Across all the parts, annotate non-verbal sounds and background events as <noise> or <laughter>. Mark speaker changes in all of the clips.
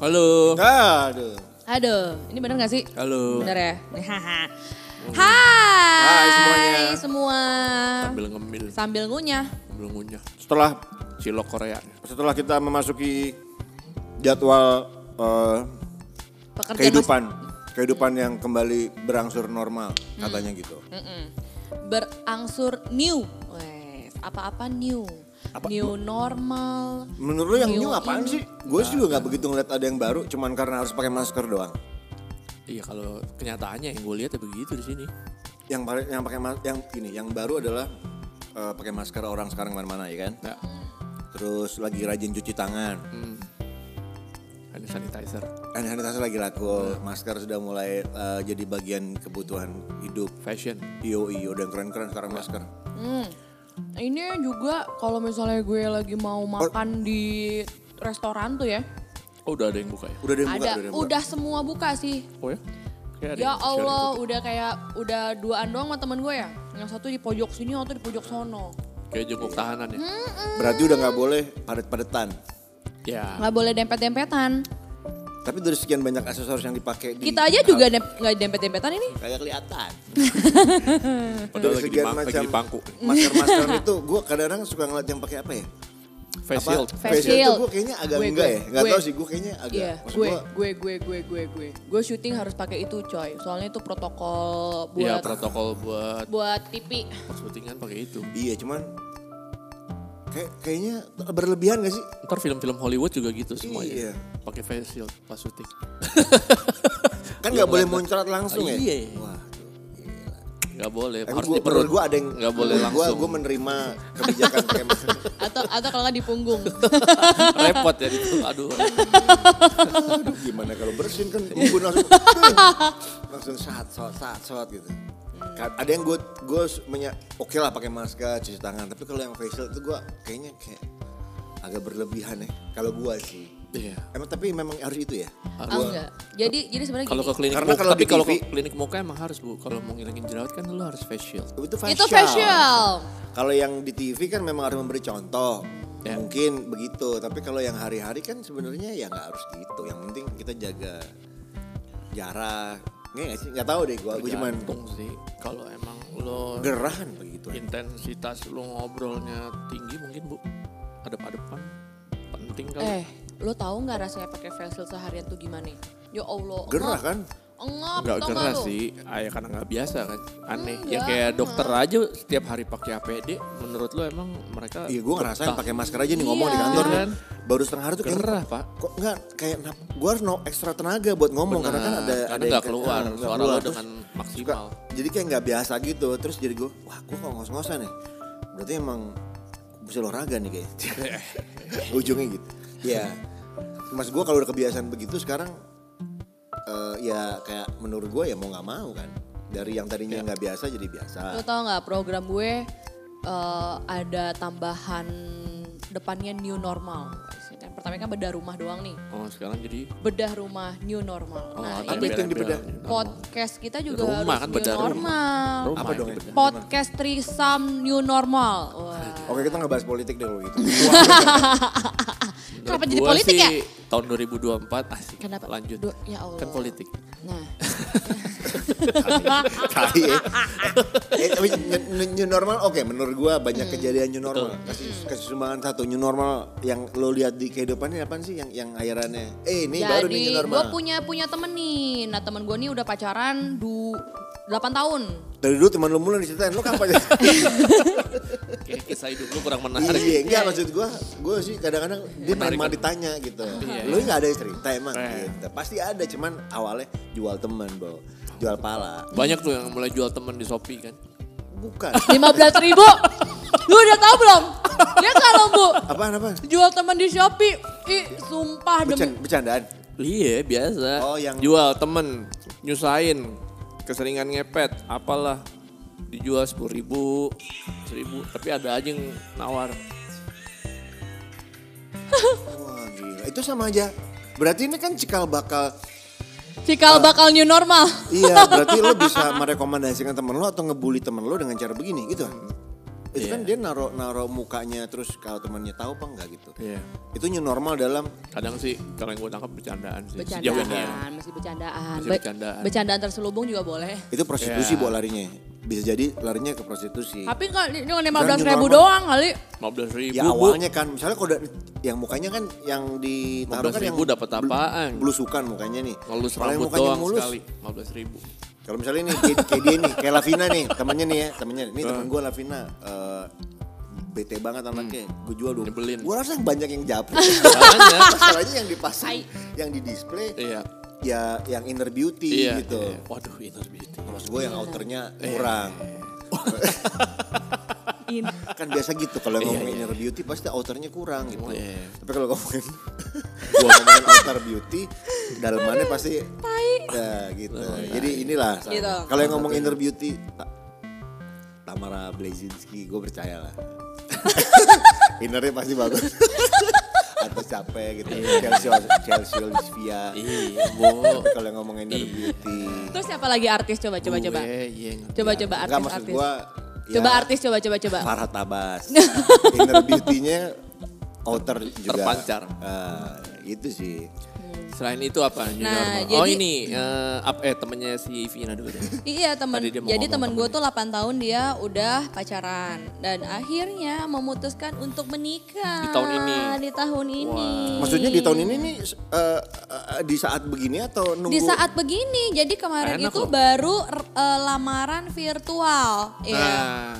Speaker 1: Halo.
Speaker 2: Aduh.
Speaker 3: Aduh, ini bener gak sih?
Speaker 1: Halo.
Speaker 3: Bener ya? <laughs> Hai.
Speaker 1: Hai semuanya.
Speaker 3: semua.
Speaker 1: Sambil ngemil,
Speaker 3: Sambil ngunyah.
Speaker 1: sambil ngunyah.
Speaker 2: Setelah
Speaker 1: Cilok Korea.
Speaker 2: setelah kita memasuki jadwal eh,
Speaker 3: Pekerjaan
Speaker 2: kehidupan, kehidupan yang kembali berangsur normal katanya gitu.
Speaker 3: mas- Berangsur new. Wes, apa-apa new. New normal.
Speaker 2: Menurut lu yang new apaan
Speaker 3: ini.
Speaker 2: sih? Gue sih juga nggak begitu ngeliat ada yang baru, cuman karena harus pakai masker doang.
Speaker 1: Iya kalau kenyataannya yang gue lihat ya begitu di sini.
Speaker 2: Yang paling yang pakai mas- yang ini, yang baru adalah eh, pakai masker orang sekarang mana-mana ya kan.
Speaker 1: Ya,
Speaker 2: Terus lagi rajin cuci tangan.
Speaker 1: hand sanitizer,
Speaker 2: Hand sanitizer lagi laku, masker sudah mulai eh, jadi bagian kebutuhan hidup.
Speaker 1: fashion.
Speaker 2: IOI udah yang keren-keren sekarang masker.
Speaker 3: Hmm. Ini juga kalau misalnya gue lagi mau makan di restoran tuh ya.
Speaker 1: Oh udah ada yang buka ya?
Speaker 2: Udah ada yang buka,
Speaker 3: Ada,
Speaker 2: ada yang buka.
Speaker 3: udah semua buka sih.
Speaker 1: Oh ya? Kayak ada
Speaker 3: Ya
Speaker 1: yang share
Speaker 3: Allah,
Speaker 1: gitu.
Speaker 3: udah kayak udah duaan doang sama temen gue ya. Yang satu di pojok sini, yang satu di pojok sono.
Speaker 1: Kayak jenguk tahanan ya?
Speaker 3: Hmm?
Speaker 2: Berarti udah nggak boleh padat-padatan.
Speaker 1: Ya.
Speaker 2: Ah.
Speaker 3: Nggak boleh dempet-dempetan.
Speaker 2: Tapi dari sekian banyak aksesoris yang dipakai di
Speaker 3: Kita aja juga dem- nggak dempet-dempetan ini.
Speaker 2: kayak kelihatan.
Speaker 1: <laughs> Padahal lagi di,
Speaker 2: sekian
Speaker 1: ma- lagi
Speaker 2: macam-
Speaker 1: di pangku.
Speaker 2: Masker-masker itu gue kadang-kadang suka ngeliat yang pakai apa ya?
Speaker 1: Face
Speaker 2: Apa?
Speaker 1: shield.
Speaker 3: Face
Speaker 2: Face shield.
Speaker 3: shield.
Speaker 2: Gue kayaknya agak
Speaker 3: Gue-
Speaker 2: enggak
Speaker 3: gue-
Speaker 2: ya. Enggak
Speaker 3: gue-
Speaker 2: tahu sih gue kayaknya agak.
Speaker 3: Iya,
Speaker 2: Maksud
Speaker 3: gue,
Speaker 2: gua,
Speaker 3: gue, gue, gue, gue, gue. Gue syuting harus pakai itu coy. Soalnya itu protokol
Speaker 1: Iya
Speaker 3: buat
Speaker 1: protokol buat
Speaker 3: buat pipi.
Speaker 1: pas syutingan pakai itu.
Speaker 2: Iya cuman kayak kayaknya berlebihan gak sih?
Speaker 1: Ntar film-film Hollywood juga gitu semuanya.
Speaker 2: Iya.
Speaker 1: Pakai face shield pas syuting.
Speaker 2: Kan nggak boleh
Speaker 1: Belanda.
Speaker 2: muncrat langsung ya.
Speaker 1: Iya.
Speaker 2: Wah,
Speaker 1: Gak boleh.
Speaker 2: tapi
Speaker 1: harus
Speaker 2: gua,
Speaker 1: di perut.
Speaker 2: menurut gue ada yang
Speaker 1: Gak boleh
Speaker 2: menurut gua-
Speaker 1: langsung.
Speaker 2: Gue menerima kebijakan pakai masker.
Speaker 3: Atau atau kalau nggak di punggung.
Speaker 1: Repot ya itu. Aduh.
Speaker 2: Aduh, gimana kalau bersin kan gue langsung duh, langsung saat saat saat saat gitu. Ka- Ada yang gue gue oke lah pakai masker cuci tangan tapi kalau yang facial itu gue kayaknya kayak agak berlebihan ya kalau gue sih.
Speaker 1: Iya.
Speaker 2: Emang tapi memang harus itu ya.
Speaker 3: Ah, enggak. Jadi jadi sebenarnya
Speaker 1: Kalau ke
Speaker 3: gini.
Speaker 1: klinik
Speaker 2: Karena
Speaker 1: muka,
Speaker 2: kalau
Speaker 1: tapi
Speaker 2: di
Speaker 1: kalau
Speaker 2: TV
Speaker 1: ke klinik muka emang harus bu. Kalau mau ngilangin jerawat kan lu harus face shield.
Speaker 2: Itu facial.
Speaker 3: Itu facial.
Speaker 2: Kalau yang di TV kan memang harus memberi contoh.
Speaker 1: Ya.
Speaker 2: Mungkin begitu, tapi kalau yang hari-hari kan sebenarnya ya nggak harus gitu. Yang penting kita jaga jarak. Nggak nggak sih? Nggak tahu deh gua, gua cuman
Speaker 1: Tergantung sih. Kalau emang lo
Speaker 2: gerahan begitu.
Speaker 1: Iya. intensitas lu ngobrolnya tinggi mungkin bu. Adep-adepan. Penting kali.
Speaker 3: Eh, lo tahu nggak rasanya pakai facial seharian tuh gimana? Ya Allah.
Speaker 2: Gerah
Speaker 3: engap.
Speaker 2: kan?
Speaker 3: Engap,
Speaker 1: Enggak
Speaker 3: tau nggak
Speaker 1: gerah
Speaker 3: lo?
Speaker 1: sih, ah, ya karena nggak biasa kan, aneh.
Speaker 3: Enggak,
Speaker 1: Yang kayak dokter aja setiap hari pakai APD, menurut lo emang mereka
Speaker 2: Iya gue ngerasain
Speaker 1: betah?
Speaker 2: pakai masker aja nih ngomong di
Speaker 3: Iya.
Speaker 2: kantor nih.
Speaker 1: Kan?
Speaker 2: Baru setengah hari tuh kayaknya
Speaker 1: Gerah, Pak.
Speaker 2: Kok nggak kayak gue harus no ekstra tenaga buat ngomong karena kan
Speaker 1: Benar,
Speaker 2: ada
Speaker 1: karena
Speaker 2: ada yang
Speaker 1: nggak
Speaker 2: ke-
Speaker 1: keluar,
Speaker 2: nggak
Speaker 1: suara
Speaker 2: keluar.
Speaker 1: lo
Speaker 2: Terus
Speaker 1: dengan
Speaker 2: suka-
Speaker 1: maksimal.
Speaker 2: jadi kayak nggak biasa gitu. Terus jadi gue, wah gue kok ngos-ngosan ya. Berarti emang bisa olahraga nih kayak.
Speaker 1: <laughs>
Speaker 2: Ujungnya gitu. Iya. Mas gue kalau udah kebiasaan begitu sekarang eh, ya kayak menurut gue ya mau nggak mau kan. Dari yang
Speaker 1: Iya.
Speaker 2: tadinya nggak biasa jadi biasa.
Speaker 3: Lo tau nggak program gue eh, ada tambahan depannya new normal. Yang pertama kan bedah rumah doang nih.
Speaker 1: Oh sekarang jadi
Speaker 3: Bedah rumah new normal.
Speaker 1: oh,
Speaker 3: nah,
Speaker 1: ada
Speaker 2: tapi
Speaker 3: ini
Speaker 2: itu yang
Speaker 1: beda-beda.
Speaker 2: dibedah.
Speaker 3: podcast kita juga
Speaker 1: Rumah
Speaker 3: harus
Speaker 1: kan
Speaker 3: new
Speaker 1: bedah rumah.
Speaker 3: normal.
Speaker 1: Rumah
Speaker 2: Apa
Speaker 1: yang
Speaker 2: dong ya?
Speaker 1: dibedah.
Speaker 3: Podcast trisam new normal. Wah.
Speaker 2: Oke kita nggak bahas politik deh kalau gitu.
Speaker 1: Menurut
Speaker 3: Kenapa jadi
Speaker 1: gua
Speaker 3: politik
Speaker 1: sih,
Speaker 3: ya?
Speaker 1: Tahun 2024 asik.
Speaker 3: Kenapa?
Speaker 1: Lanjut.
Speaker 3: Duh, ya Allah.
Speaker 1: Kan politik. <laughs>
Speaker 3: Nah,
Speaker 2: Tai ya. eh, tapi new- new- new normal oke menurut gua banyak
Speaker 1: Hmm,
Speaker 2: kejadian new normal. Kasih kasih sumbangan satu new normal yang lo lihat di kehidupannya apa sih yang yang airannya? Eh ini baru nih new
Speaker 3: jadi
Speaker 2: normal.
Speaker 3: gue punya punya temen nih. Nah temen gue nih udah pacaran du 8 tahun.
Speaker 2: Dari dulu teman lo mulai diceritain
Speaker 1: <laughs>
Speaker 2: lo
Speaker 1: Iya,
Speaker 2: kapan aja.
Speaker 1: Kayak kisah hidup lu kurang menarik.
Speaker 2: iya, enggak maksud gua, gua sih kadang-kadang dia
Speaker 1: Menarik
Speaker 2: memang
Speaker 1: kan?
Speaker 2: ditanya gitu.
Speaker 1: Iya,
Speaker 2: Lo nggak ada cerita emang
Speaker 1: Eh.
Speaker 2: gitu. Pasti ada cuman awalnya jual teman, Bo. Jual pala.
Speaker 1: Banyak tuh yang mulai jual temen di Shopee kan. <laughs>
Speaker 2: Bukan.
Speaker 3: 15 ribu. Lu udah tahu belum? Dia kalau bu
Speaker 2: apaan apaan?
Speaker 3: jual temen di Shopee. Ih sumpah demi.
Speaker 2: Bercan- bercandaan.
Speaker 1: Iya biasa.
Speaker 2: Oh, yang-
Speaker 1: Jual temen, nyusahin, keseringan ngepet, apalah. Dijual sepuluh ribu, seribu. Tapi ada aja yang nawar.
Speaker 2: Wah gila. Itu sama aja. Berarti ini kan cikal bakal
Speaker 3: Cikal bakal new normal.
Speaker 1: <laughs>
Speaker 2: Iya, berarti lo bisa merekomendasikan temen lo atau ngebully temen lo dengan cara begini gitu kan? Itu
Speaker 1: Iya.
Speaker 2: kan dia naro naro mukanya terus kalau temannya tahu apa enggak gitu.
Speaker 1: Iya.
Speaker 2: Itu new normal dalam
Speaker 1: Kadang sih kalau yang gue tangkap bercandaan sih. Sejauh ini ya.
Speaker 3: Bercandaan, masih bercandaan.
Speaker 1: Masih
Speaker 3: Be-
Speaker 1: bercandaan.
Speaker 3: bercandaan terselubung juga boleh.
Speaker 2: itu prostitusi
Speaker 1: Iya.
Speaker 2: buat larinya. Bisa jadi larinya ke prostitusi.
Speaker 3: Tapi kan ini lima
Speaker 2: Bukan
Speaker 3: belas ribu
Speaker 2: new normal.
Speaker 3: doang kali.
Speaker 1: 15 ribu
Speaker 2: Ya awalnya kan misalnya kalau udah- yang mukanya kan yang ditaruh kan yang
Speaker 1: 15.000 dapat apaan?
Speaker 2: bl- Belusukan mukanya nih.
Speaker 1: Ngelus
Speaker 2: Kalau yang
Speaker 1: rambut
Speaker 2: mukanya
Speaker 1: doang
Speaker 2: mulus,
Speaker 1: sekali. 15 ribu.
Speaker 2: Kalau misalnya nih kayak, kayak dia nih, kayak Lavina nih, temennya nih ya, temennya. Ini temen gue Lavina, eh, bete banget anaknya. Gue jual dulu.
Speaker 1: Hmm. Nyebelin.
Speaker 2: Gue rasa banyak yang
Speaker 1: <laughs>
Speaker 2: japri.
Speaker 1: Banyak.
Speaker 2: Masalahnya yang dipasang,
Speaker 3: Hai.
Speaker 2: yang di display,
Speaker 1: Iya.
Speaker 2: ya yang inner beauty
Speaker 1: Iya.
Speaker 2: gitu.
Speaker 1: iya. Waduh inner beauty.
Speaker 2: Maksud gue yang outernya kurang.
Speaker 3: In.
Speaker 2: Kan biasa gitu kalau ngomongin
Speaker 1: iya.
Speaker 2: inner beauty pasti outernya kurang gitu.
Speaker 1: Oh, iya.
Speaker 2: Tapi kalau ngomongin <laughs> gua ngomongin outer beauty, dalamannya pasti ya gitu.
Speaker 1: Oh, iya.
Speaker 2: Jadi inilah sama.
Speaker 3: Gitu.
Speaker 2: kalau yang ngomong inner beauty Ta- Tamara Blazinski gue percaya lah. <laughs> Innernya pasti bagus. <laughs> Atau capek gitu. Chelsea Chelsea Olivia.
Speaker 1: Iya, Bo.
Speaker 2: Kalau yang ngomongin inner beauty.
Speaker 3: Terus siapa lagi artis coba coba coba.
Speaker 1: Gue, iya, ngerti.
Speaker 3: Coba coba
Speaker 2: Enggak,
Speaker 3: artis
Speaker 2: maksud
Speaker 3: artis.
Speaker 2: gua, ya,
Speaker 3: Coba artis coba coba coba.
Speaker 2: Farhat Abbas.
Speaker 3: <laughs>
Speaker 2: Inner beauty-nya outer juga.
Speaker 1: Terpancar.
Speaker 2: Eh, itu sih.
Speaker 1: Selain itu apa? New
Speaker 3: Nah,
Speaker 1: normal.
Speaker 3: jadi-
Speaker 1: oh ini eh, up- eh temennya si Vina dulu deh.
Speaker 3: Iya teman.
Speaker 1: Tadi dia mau
Speaker 3: Jadi
Speaker 1: ngomong
Speaker 3: teman gue tuh 8 tahun dia udah pacaran dan akhirnya memutuskan untuk menikah.
Speaker 1: Di tahun ini?
Speaker 3: Di tahun ini.
Speaker 2: Maksudnya di tahun ini nih eh, eh, di saat begini atau nunggu?
Speaker 3: Di saat begini, jadi kemarin
Speaker 1: Enak
Speaker 3: itu
Speaker 1: loh.
Speaker 3: baru r- eh, lamaran virtual. Iya.
Speaker 1: Nah,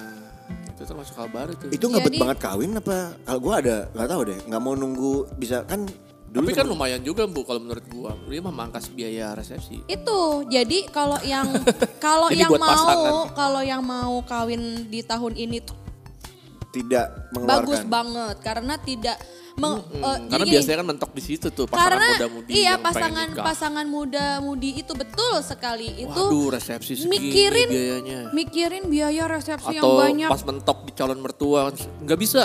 Speaker 1: itu termasuk hal baru tuh.
Speaker 2: itu ngebet
Speaker 3: Jadi-
Speaker 2: banget kawin apa? Kalau gua ada nggak tahu deh, nggak mau nunggu bisa kan dulu
Speaker 1: Tapi kan
Speaker 2: temen-
Speaker 1: lumayan juga bu kalau menurut gua. Dia mah mangkas biaya resepsi.
Speaker 3: Eh, Itu. Jadi kalau yang
Speaker 1: <laughs>
Speaker 3: kalau
Speaker 1: Jadi
Speaker 3: yang
Speaker 1: buat
Speaker 3: mau
Speaker 1: pasangan.
Speaker 3: kalau yang mau kawin di tahun ini tuh
Speaker 2: tidak mengeluarkan.
Speaker 3: bagus banget karena tidak meng- eh, jadi
Speaker 1: Karena
Speaker 3: gini,
Speaker 1: biasanya kan mentok di situ tuh pasangan
Speaker 3: karena
Speaker 1: muda-mudi
Speaker 3: iya
Speaker 1: yang pengen
Speaker 3: pasangan
Speaker 1: nikah.
Speaker 3: pasangan muda mudi itu betul sekali itu
Speaker 1: Waduh, resepsi segini
Speaker 3: mikirin
Speaker 1: biayanya.
Speaker 3: mikirin biaya resepsi yang
Speaker 1: Atau
Speaker 3: banyak
Speaker 1: pas mentok di calon mertua nggak bisa.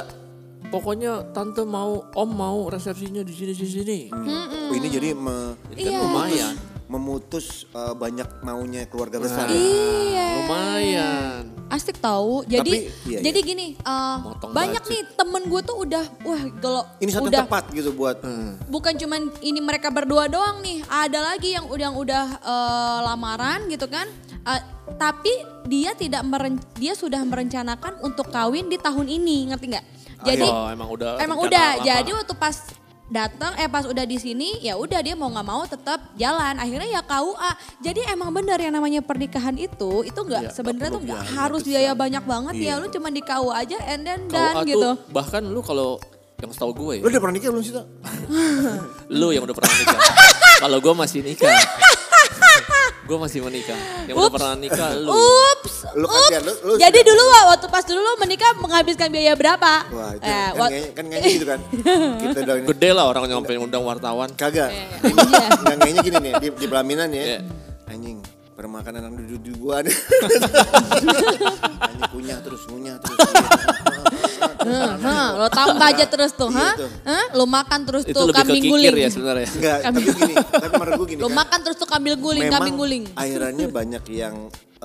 Speaker 1: Pokoknya tante mau, om mau resepsinya di sini di sini.
Speaker 2: Oh, ini jadi me-
Speaker 3: Iya.
Speaker 1: Itu kan lumayan. Nah.
Speaker 2: memutus eh, banyak maunya keluarga besar.
Speaker 3: iya
Speaker 1: Lumayan.
Speaker 3: asik tahu jadi
Speaker 2: Tapi, iya,
Speaker 3: jadi gini eh,
Speaker 1: Motong
Speaker 3: banyak
Speaker 1: budget.
Speaker 3: nih temen gue tuh udah wah gelo
Speaker 2: Ini saat
Speaker 3: udah
Speaker 2: yang tepat gitu buat
Speaker 1: Hmm.
Speaker 3: bukan cuman ini mereka berdua doang nih ada lagi yang udah yang udah eh, lamaran gitu kan Eh, tapi dia tidak meren- dia sudah merencanakan untuk kawin di tahun ini ngerti nggak jadi
Speaker 1: Oh, emang udah
Speaker 3: emang
Speaker 1: rencana
Speaker 3: udah
Speaker 1: lama.
Speaker 3: jadi waktu pas datang eh pas udah di sini ya udah dia mau nggak mau tetap jalan akhirnya ya KUA jadi emang bener yang namanya pernikahan itu
Speaker 1: Iya,
Speaker 3: itu nggak
Speaker 1: nggak
Speaker 3: sebenarnya
Speaker 1: perlu
Speaker 3: tuh nggak
Speaker 1: biaya
Speaker 3: harus
Speaker 1: besar. Iya.
Speaker 3: biaya banyak banget ya lu cuman di KUA aja and then
Speaker 1: KUA
Speaker 3: done gitu
Speaker 1: tuh bahkan lu kalau yang setahu gue ya,
Speaker 2: Lo udah pernah nikah belum sih, Tak?
Speaker 1: lu yang udah pernah nikah. kalau gue masih nikah. gue masih menikah. Yang udah
Speaker 3: Ups.
Speaker 1: pernah nikah lu.
Speaker 3: Ups,
Speaker 2: Lu kan
Speaker 3: ups.
Speaker 2: biar lu- lu-
Speaker 3: Jadi dulu wa- waktu pas dulu lo menikah menghabiskan biaya berapa?
Speaker 2: Wah, itu
Speaker 3: Eh,
Speaker 2: kan,
Speaker 3: wa-
Speaker 2: kayaknya, kan kayaknya gitu
Speaker 3: <laughs>
Speaker 2: kan. Kita udah ini.
Speaker 1: Gede lah orang nyampe undang wartawan.
Speaker 2: Kagak.
Speaker 3: Iya.
Speaker 2: Nggak, kayaknya gini nih di, di pelaminan ya.
Speaker 1: Iya.
Speaker 2: Anjing, permakanan yang duduk di gua nih. Anjing kunyah terus, ngunyah terus.
Speaker 3: Hah, hah, lo tambah aja terus tuh,
Speaker 2: Iya,
Speaker 3: hah?
Speaker 2: tuh.
Speaker 3: Hah? Lo makan terus
Speaker 1: Itu
Speaker 3: tuh
Speaker 1: lebih ke
Speaker 3: kambing
Speaker 1: kikir
Speaker 3: guling.
Speaker 1: ya sebenarnya.
Speaker 2: Enggak, tapi gini, tapi menurut gua gini
Speaker 3: Lo
Speaker 2: kan.
Speaker 3: makan terus tuh kambing guling,
Speaker 2: memang
Speaker 3: kambing guling.
Speaker 2: Akhirannya banyak yang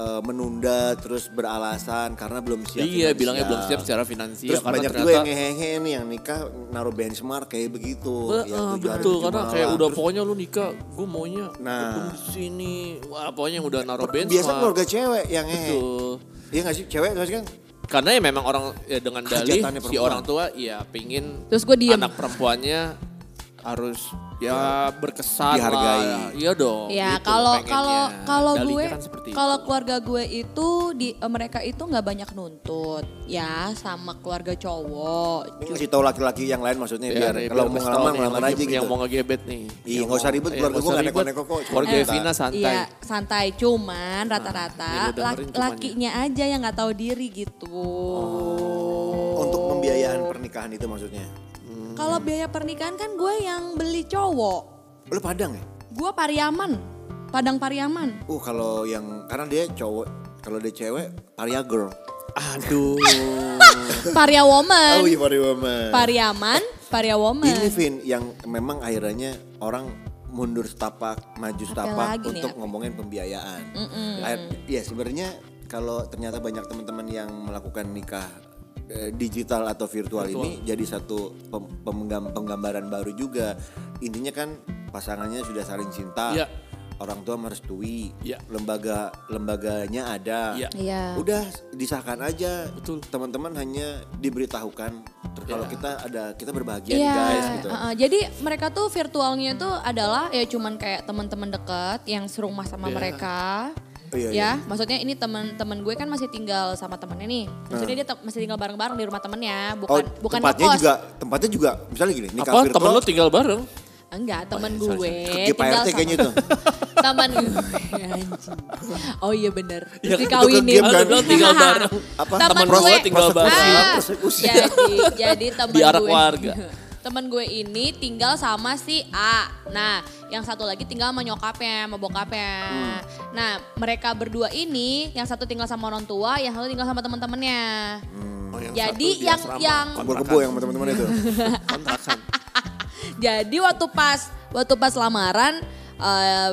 Speaker 2: eh, menunda terus beralasan karena belum siap.
Speaker 1: Iya,
Speaker 2: finansial.
Speaker 1: bilangnya belum siap secara finansial.
Speaker 2: Terus
Speaker 1: karena
Speaker 2: banyak juga
Speaker 1: ternyata- eh,
Speaker 2: yang ngehehe nih yang nikah naruh benchmark kayak begitu.
Speaker 1: Be-
Speaker 2: ya,
Speaker 1: eh,
Speaker 2: tujuh hari,
Speaker 1: betul
Speaker 2: tujuh
Speaker 1: karena
Speaker 2: malam.
Speaker 1: kayak udah
Speaker 2: Terus
Speaker 1: pokoknya lu nikah gue maunya
Speaker 2: Nah.
Speaker 1: gedung di sini wah pokoknya yang udah naruh benchmark
Speaker 2: biasa keluarga cewek yang ngehe.
Speaker 1: Betul.
Speaker 2: Iya gak sih cewek pasti kan
Speaker 1: karena ya memang orang ya dengan dalih
Speaker 2: Hajatannya
Speaker 1: si
Speaker 2: perempuan.
Speaker 1: orang tua ya pingin
Speaker 3: Terus gua diem.
Speaker 1: anak perempuannya harus ya berkesan
Speaker 2: Dihargai.
Speaker 1: lah. iya
Speaker 2: Oh,
Speaker 1: dong
Speaker 3: Ya
Speaker 1: gitu
Speaker 3: kalau
Speaker 1: pengennya.
Speaker 3: kalau kalau
Speaker 1: Dalihnya
Speaker 3: gue
Speaker 1: kan seperti
Speaker 3: kalau
Speaker 1: itu.
Speaker 3: keluarga gue itu di eh, mereka itu nggak banyak nuntut ya sama keluarga cowok.
Speaker 2: Ini ngasih tahu laki-laki yang lain maksudnya
Speaker 1: Iya,
Speaker 2: biar Iya, kalau mau
Speaker 1: kasih tau
Speaker 2: ngelaman
Speaker 1: nih
Speaker 2: ngelaman
Speaker 1: lagi
Speaker 2: aja gitu.
Speaker 1: yang mau ngegebet nih
Speaker 2: Iya,
Speaker 1: Yang
Speaker 2: nggak usah
Speaker 1: mau-
Speaker 2: ribet,
Speaker 1: iya, nggak
Speaker 2: keluarga gue
Speaker 1: usah
Speaker 2: nggak
Speaker 1: ribet.
Speaker 2: neko-neko kok, cuma
Speaker 1: keluarga
Speaker 2: minta.
Speaker 1: Vina Nah, santai Nah,
Speaker 3: Iya santai cuman rata-rata
Speaker 1: ini lu dengerin
Speaker 3: lak-
Speaker 1: cuman ya.
Speaker 3: lakinya aja yang nggak tahu diri gitu.
Speaker 1: Oh.
Speaker 2: untuk pembiayaan pernikahan itu maksudnya.
Speaker 3: Kalau biaya pernikahan kan gue yang beli cowok.
Speaker 2: Lu Padang ya?
Speaker 3: Gue Pariaman, Padang
Speaker 2: <laughs>
Speaker 3: Pariaman.
Speaker 2: Uh kalau yang karena dia cowok, kalau dia cewek Paria girl.
Speaker 1: aduh
Speaker 3: Paria woman.
Speaker 2: Oh iya Paria woman.
Speaker 3: Pariaman, Paria woman.
Speaker 2: Ini Vin yang memang akhirnya orang mundur setapak, maju setapak
Speaker 3: lagi nih, ya.
Speaker 2: untuk
Speaker 3: apa?
Speaker 2: ngomongin pembiayaan. ya, Akhir- Iya sebenarnya kalau ternyata banyak teman-teman yang melakukan nikah eh, digital atau virtual, ini jadi satu pem- pemegam- penggambaran baru juga. Intinya kan pasangannya sudah saling cinta.
Speaker 1: Iya.
Speaker 3: Ya.
Speaker 2: Orang tua merestui,
Speaker 1: Iya.
Speaker 2: lembaga lembaganya ada,
Speaker 1: Iya.
Speaker 3: Iya.
Speaker 2: udah disahkan aja.
Speaker 1: Betul.
Speaker 2: Teman-teman hanya diberitahukan ter- kalau
Speaker 3: Ya.
Speaker 2: kita ada kita berbahagia nih
Speaker 3: Iya,
Speaker 2: guys gitu.
Speaker 3: uh-uh. jadi mereka tuh virtualnya tuh adalah ya cuman kayak teman-teman dekat yang serumah sama mereka.
Speaker 2: Iya. Oh, iya,
Speaker 3: ya, maksudnya ini teman-teman gue kan masih tinggal sama temennya nih. Maksudnya dia te- masih tinggal bareng-bareng di rumah temennya,
Speaker 2: Oh,
Speaker 3: bukan bukan
Speaker 2: tempatnya
Speaker 3: ngekos.
Speaker 2: juga tempatnya juga misalnya gini
Speaker 1: <laughs>
Speaker 2: nikah
Speaker 1: Apa
Speaker 2: virtual
Speaker 1: temen lu tinggal bareng?
Speaker 3: Enggak, temen
Speaker 2: Oh, iya, sorry,
Speaker 3: gue
Speaker 2: sorry. Ke
Speaker 3: tinggal
Speaker 2: PRT
Speaker 3: sama
Speaker 2: kayaknya
Speaker 3: <laughs>
Speaker 2: itu.
Speaker 3: teman gue. Anjing. Oh iya bener.
Speaker 1: Iya, kan
Speaker 3: Terus
Speaker 2: itu
Speaker 3: dikawinin.
Speaker 2: ke game kan.
Speaker 1: Lu tinggal bareng.
Speaker 2: Apa?
Speaker 3: Temen
Speaker 1: Temen
Speaker 3: gue
Speaker 1: gue tinggal bareng.
Speaker 3: Ah,
Speaker 2: Persekusi.
Speaker 3: jadi, jadi temen
Speaker 1: Diarak
Speaker 3: gue.
Speaker 1: warga.
Speaker 3: <laughs> Temen gue ini tinggal sama si A. Nah, yang satu lagi tinggal sama nyokapnya, sama bokapnya.
Speaker 2: Hmm.
Speaker 3: Nah, mereka berdua ini, yang satu tinggal sama orang tua, yang satu tinggal sama temen-temennya.
Speaker 1: Oh, yang
Speaker 3: Jadi
Speaker 1: satu di
Speaker 3: yang-
Speaker 1: asrama,
Speaker 3: yang-
Speaker 2: Kebor kebo
Speaker 1: kontrakan.
Speaker 2: yang sama teman-teman itu.
Speaker 1: kontrakan.
Speaker 3: Jadi waktu pas, waktu pas lamaran, eh,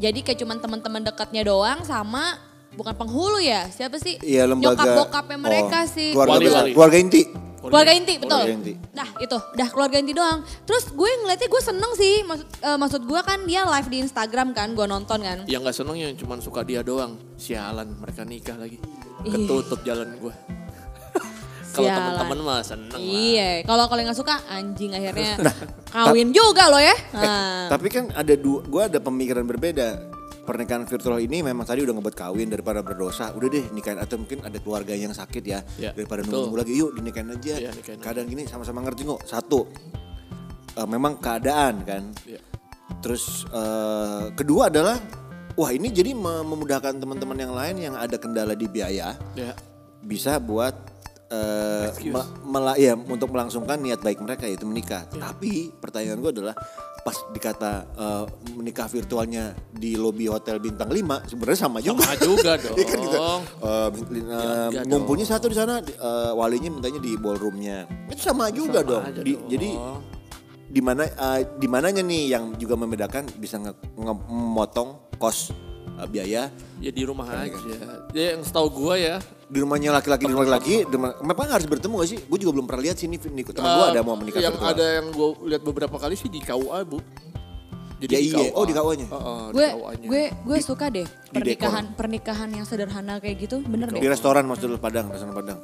Speaker 3: jadi kayak cuman temen-temen dekatnya doang sama bukan penghulu ya siapa sih
Speaker 2: Iya
Speaker 3: <laughs>
Speaker 2: lembaga.
Speaker 3: nyokap bokapnya
Speaker 2: Oh,
Speaker 3: mereka sih
Speaker 2: Keluarga
Speaker 1: Wali-wali.
Speaker 2: besar, keluarga inti.
Speaker 3: keluarga inti betul
Speaker 2: Keluarga inti.
Speaker 3: nah itu udah keluarga inti doang terus gue ngeliatnya gue seneng sih maksud eh, maksud gue kan dia live di Instagram kan gue nonton kan
Speaker 1: Yang gak seneng yang cuma suka dia doang. Sialan mereka nikah lagi.
Speaker 3: Ih.
Speaker 1: Ketutup jalan gue. <laughs> Kalau
Speaker 3: Sialan.
Speaker 1: temen-temen mah seneng lah.
Speaker 3: iya kalau kalian nggak suka anjing akhirnya
Speaker 2: Nah,
Speaker 3: kawin juga lo
Speaker 2: <laughs>
Speaker 3: ya nah,
Speaker 2: Tapi kan ada dua, gue ada pemikiran berbeda. Pernikahan virtual ini memang tadi udah ngebuat kawin daripada berdosa. Udah deh nikahin atau mungkin ada keluarga yang sakit ya.
Speaker 1: Iya,
Speaker 2: Daripada
Speaker 1: betul.
Speaker 2: nunggu lagi yuk dinikahin aja.
Speaker 1: Iya, nikahin aja.
Speaker 2: Keadaan gini sama-sama ngerti kok. Satu, eh, memang keadaan kan.
Speaker 1: Iya.
Speaker 2: Terus eh, kedua adalah wah ini jadi mem- memudahkan teman-teman yang lain yang ada kendala di biaya.
Speaker 1: Ya.
Speaker 2: bisa buat eh, me- mela- ya, untuk melangsungkan niat baik mereka yaitu menikah. Tapi pertanyaan gue adalah pas dikata eh, menikah virtualnya di lobi hotel bintang 5 sebenarnya sama juga.
Speaker 1: Sama juga
Speaker 2: <laughs> Iya kan gitu.
Speaker 1: dong.
Speaker 2: Eh, bin- lin- eh,
Speaker 1: Iya
Speaker 2: ngumpulnya satu di sana di- eh, walinya mintanya di ballroomnya. Itu sama juga
Speaker 1: Sama
Speaker 2: dong.
Speaker 1: aja
Speaker 2: Di-
Speaker 1: dong.
Speaker 2: Jadi di mana eh, di mananya nih yang juga membedakan bisa nge- nge- memotong kos eh, biaya
Speaker 1: Ya di rumah aja. Ya yang setahu gue ya.
Speaker 2: di rumahnya laki-laki di rumah laki-laki di rumah- memang harus bertemu gak sih gue juga belum pernah lihat sih ini teman gue
Speaker 1: eh,
Speaker 2: ada mau menikah
Speaker 1: Yang
Speaker 2: virtual.
Speaker 1: ada yang gue lihat beberapa kali sih di KUA bu. Jadi
Speaker 2: Ya iya. Oh, di KUA-nya?
Speaker 1: Heeh, di
Speaker 3: gue
Speaker 1: KUA-nya.
Speaker 3: gue gue suka deh
Speaker 2: dekor.
Speaker 3: pernikahan pernikahan yang sederhana kayak gitu bener
Speaker 2: di
Speaker 3: deh
Speaker 2: restoran Mas Dul Padang restoran Padang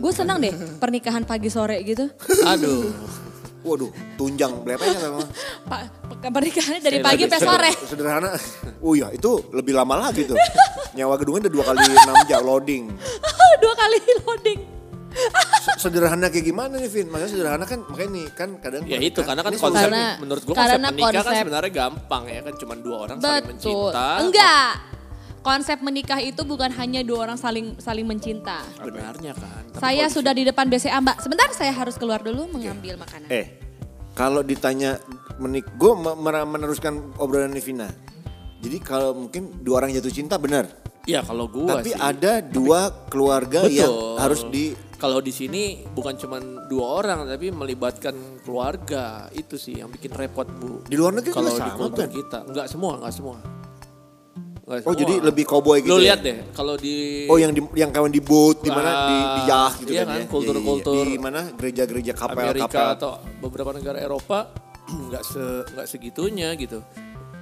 Speaker 3: gue senang deh pernikahan pagi sore gitu
Speaker 1: Aduh.
Speaker 2: waduh tunjang ya, beletanya memang
Speaker 3: Pa- pe- pernikahannya dari
Speaker 1: Saya
Speaker 3: pagi
Speaker 1: lagi
Speaker 3: sampai Iya, sore <laughs>
Speaker 2: sederhana oh iya itu lebih lama lagi tuh nyawa gedungnya udah dua kali enam jam loading
Speaker 3: dua kali loading
Speaker 2: Se- sederhana kayak gimana nih Vin maksudnya sederhana kan makanya nih kan kadang
Speaker 1: Ya itu karena kan
Speaker 2: Ini
Speaker 1: konsep
Speaker 2: susah.
Speaker 3: Karena-
Speaker 1: menurut gue konsep
Speaker 3: karena
Speaker 1: menikah kan
Speaker 3: konsep-
Speaker 1: sebenarnya gampang ya kan cuma dua orang saling
Speaker 3: Betul.
Speaker 1: mencinta.
Speaker 3: Enggak. Konsep menikah itu bukan hanya dua orang saling saling mencinta.
Speaker 1: Benarnya kan. Tapi
Speaker 3: Saya
Speaker 1: kalau di-
Speaker 3: sudah di depan BCA, Mbak. Sebentar, saya harus keluar dulu mengambil makanan.
Speaker 2: eh kalau ditanya menik gue meneruskan obrolan Vina jadi kalau mungkin dua orang jatuh cinta benar
Speaker 1: Ya kalau gue
Speaker 2: Tapi
Speaker 1: sih.
Speaker 2: ada dua keluarga yang harus di
Speaker 1: Kalau di sini bukan cuma dua orang tapi melibatkan keluarga itu sih yang bikin repot bu.
Speaker 2: Di luar negeri
Speaker 1: kalau
Speaker 2: juga
Speaker 1: di
Speaker 2: sama,
Speaker 1: kultur
Speaker 2: kan?
Speaker 1: kita nggak semua nggak semua. Nggak
Speaker 2: Oh,
Speaker 1: semua.
Speaker 2: jadi lebih cowboy gitu
Speaker 1: Lo
Speaker 2: ya?
Speaker 1: lihat deh kalau di
Speaker 2: Oh yang di, yang kawan di boat di mana di di
Speaker 1: Ah,
Speaker 2: yah gitu
Speaker 1: iya
Speaker 2: kan,
Speaker 1: kan,
Speaker 2: ya?
Speaker 1: kultur-kultur.
Speaker 2: Iya, iya, iya. Di mana gereja-gereja
Speaker 1: Amerika
Speaker 2: kapel-kapel.
Speaker 1: atau beberapa negara Eropa <clears throat> nggak se nggak segitunya gitu.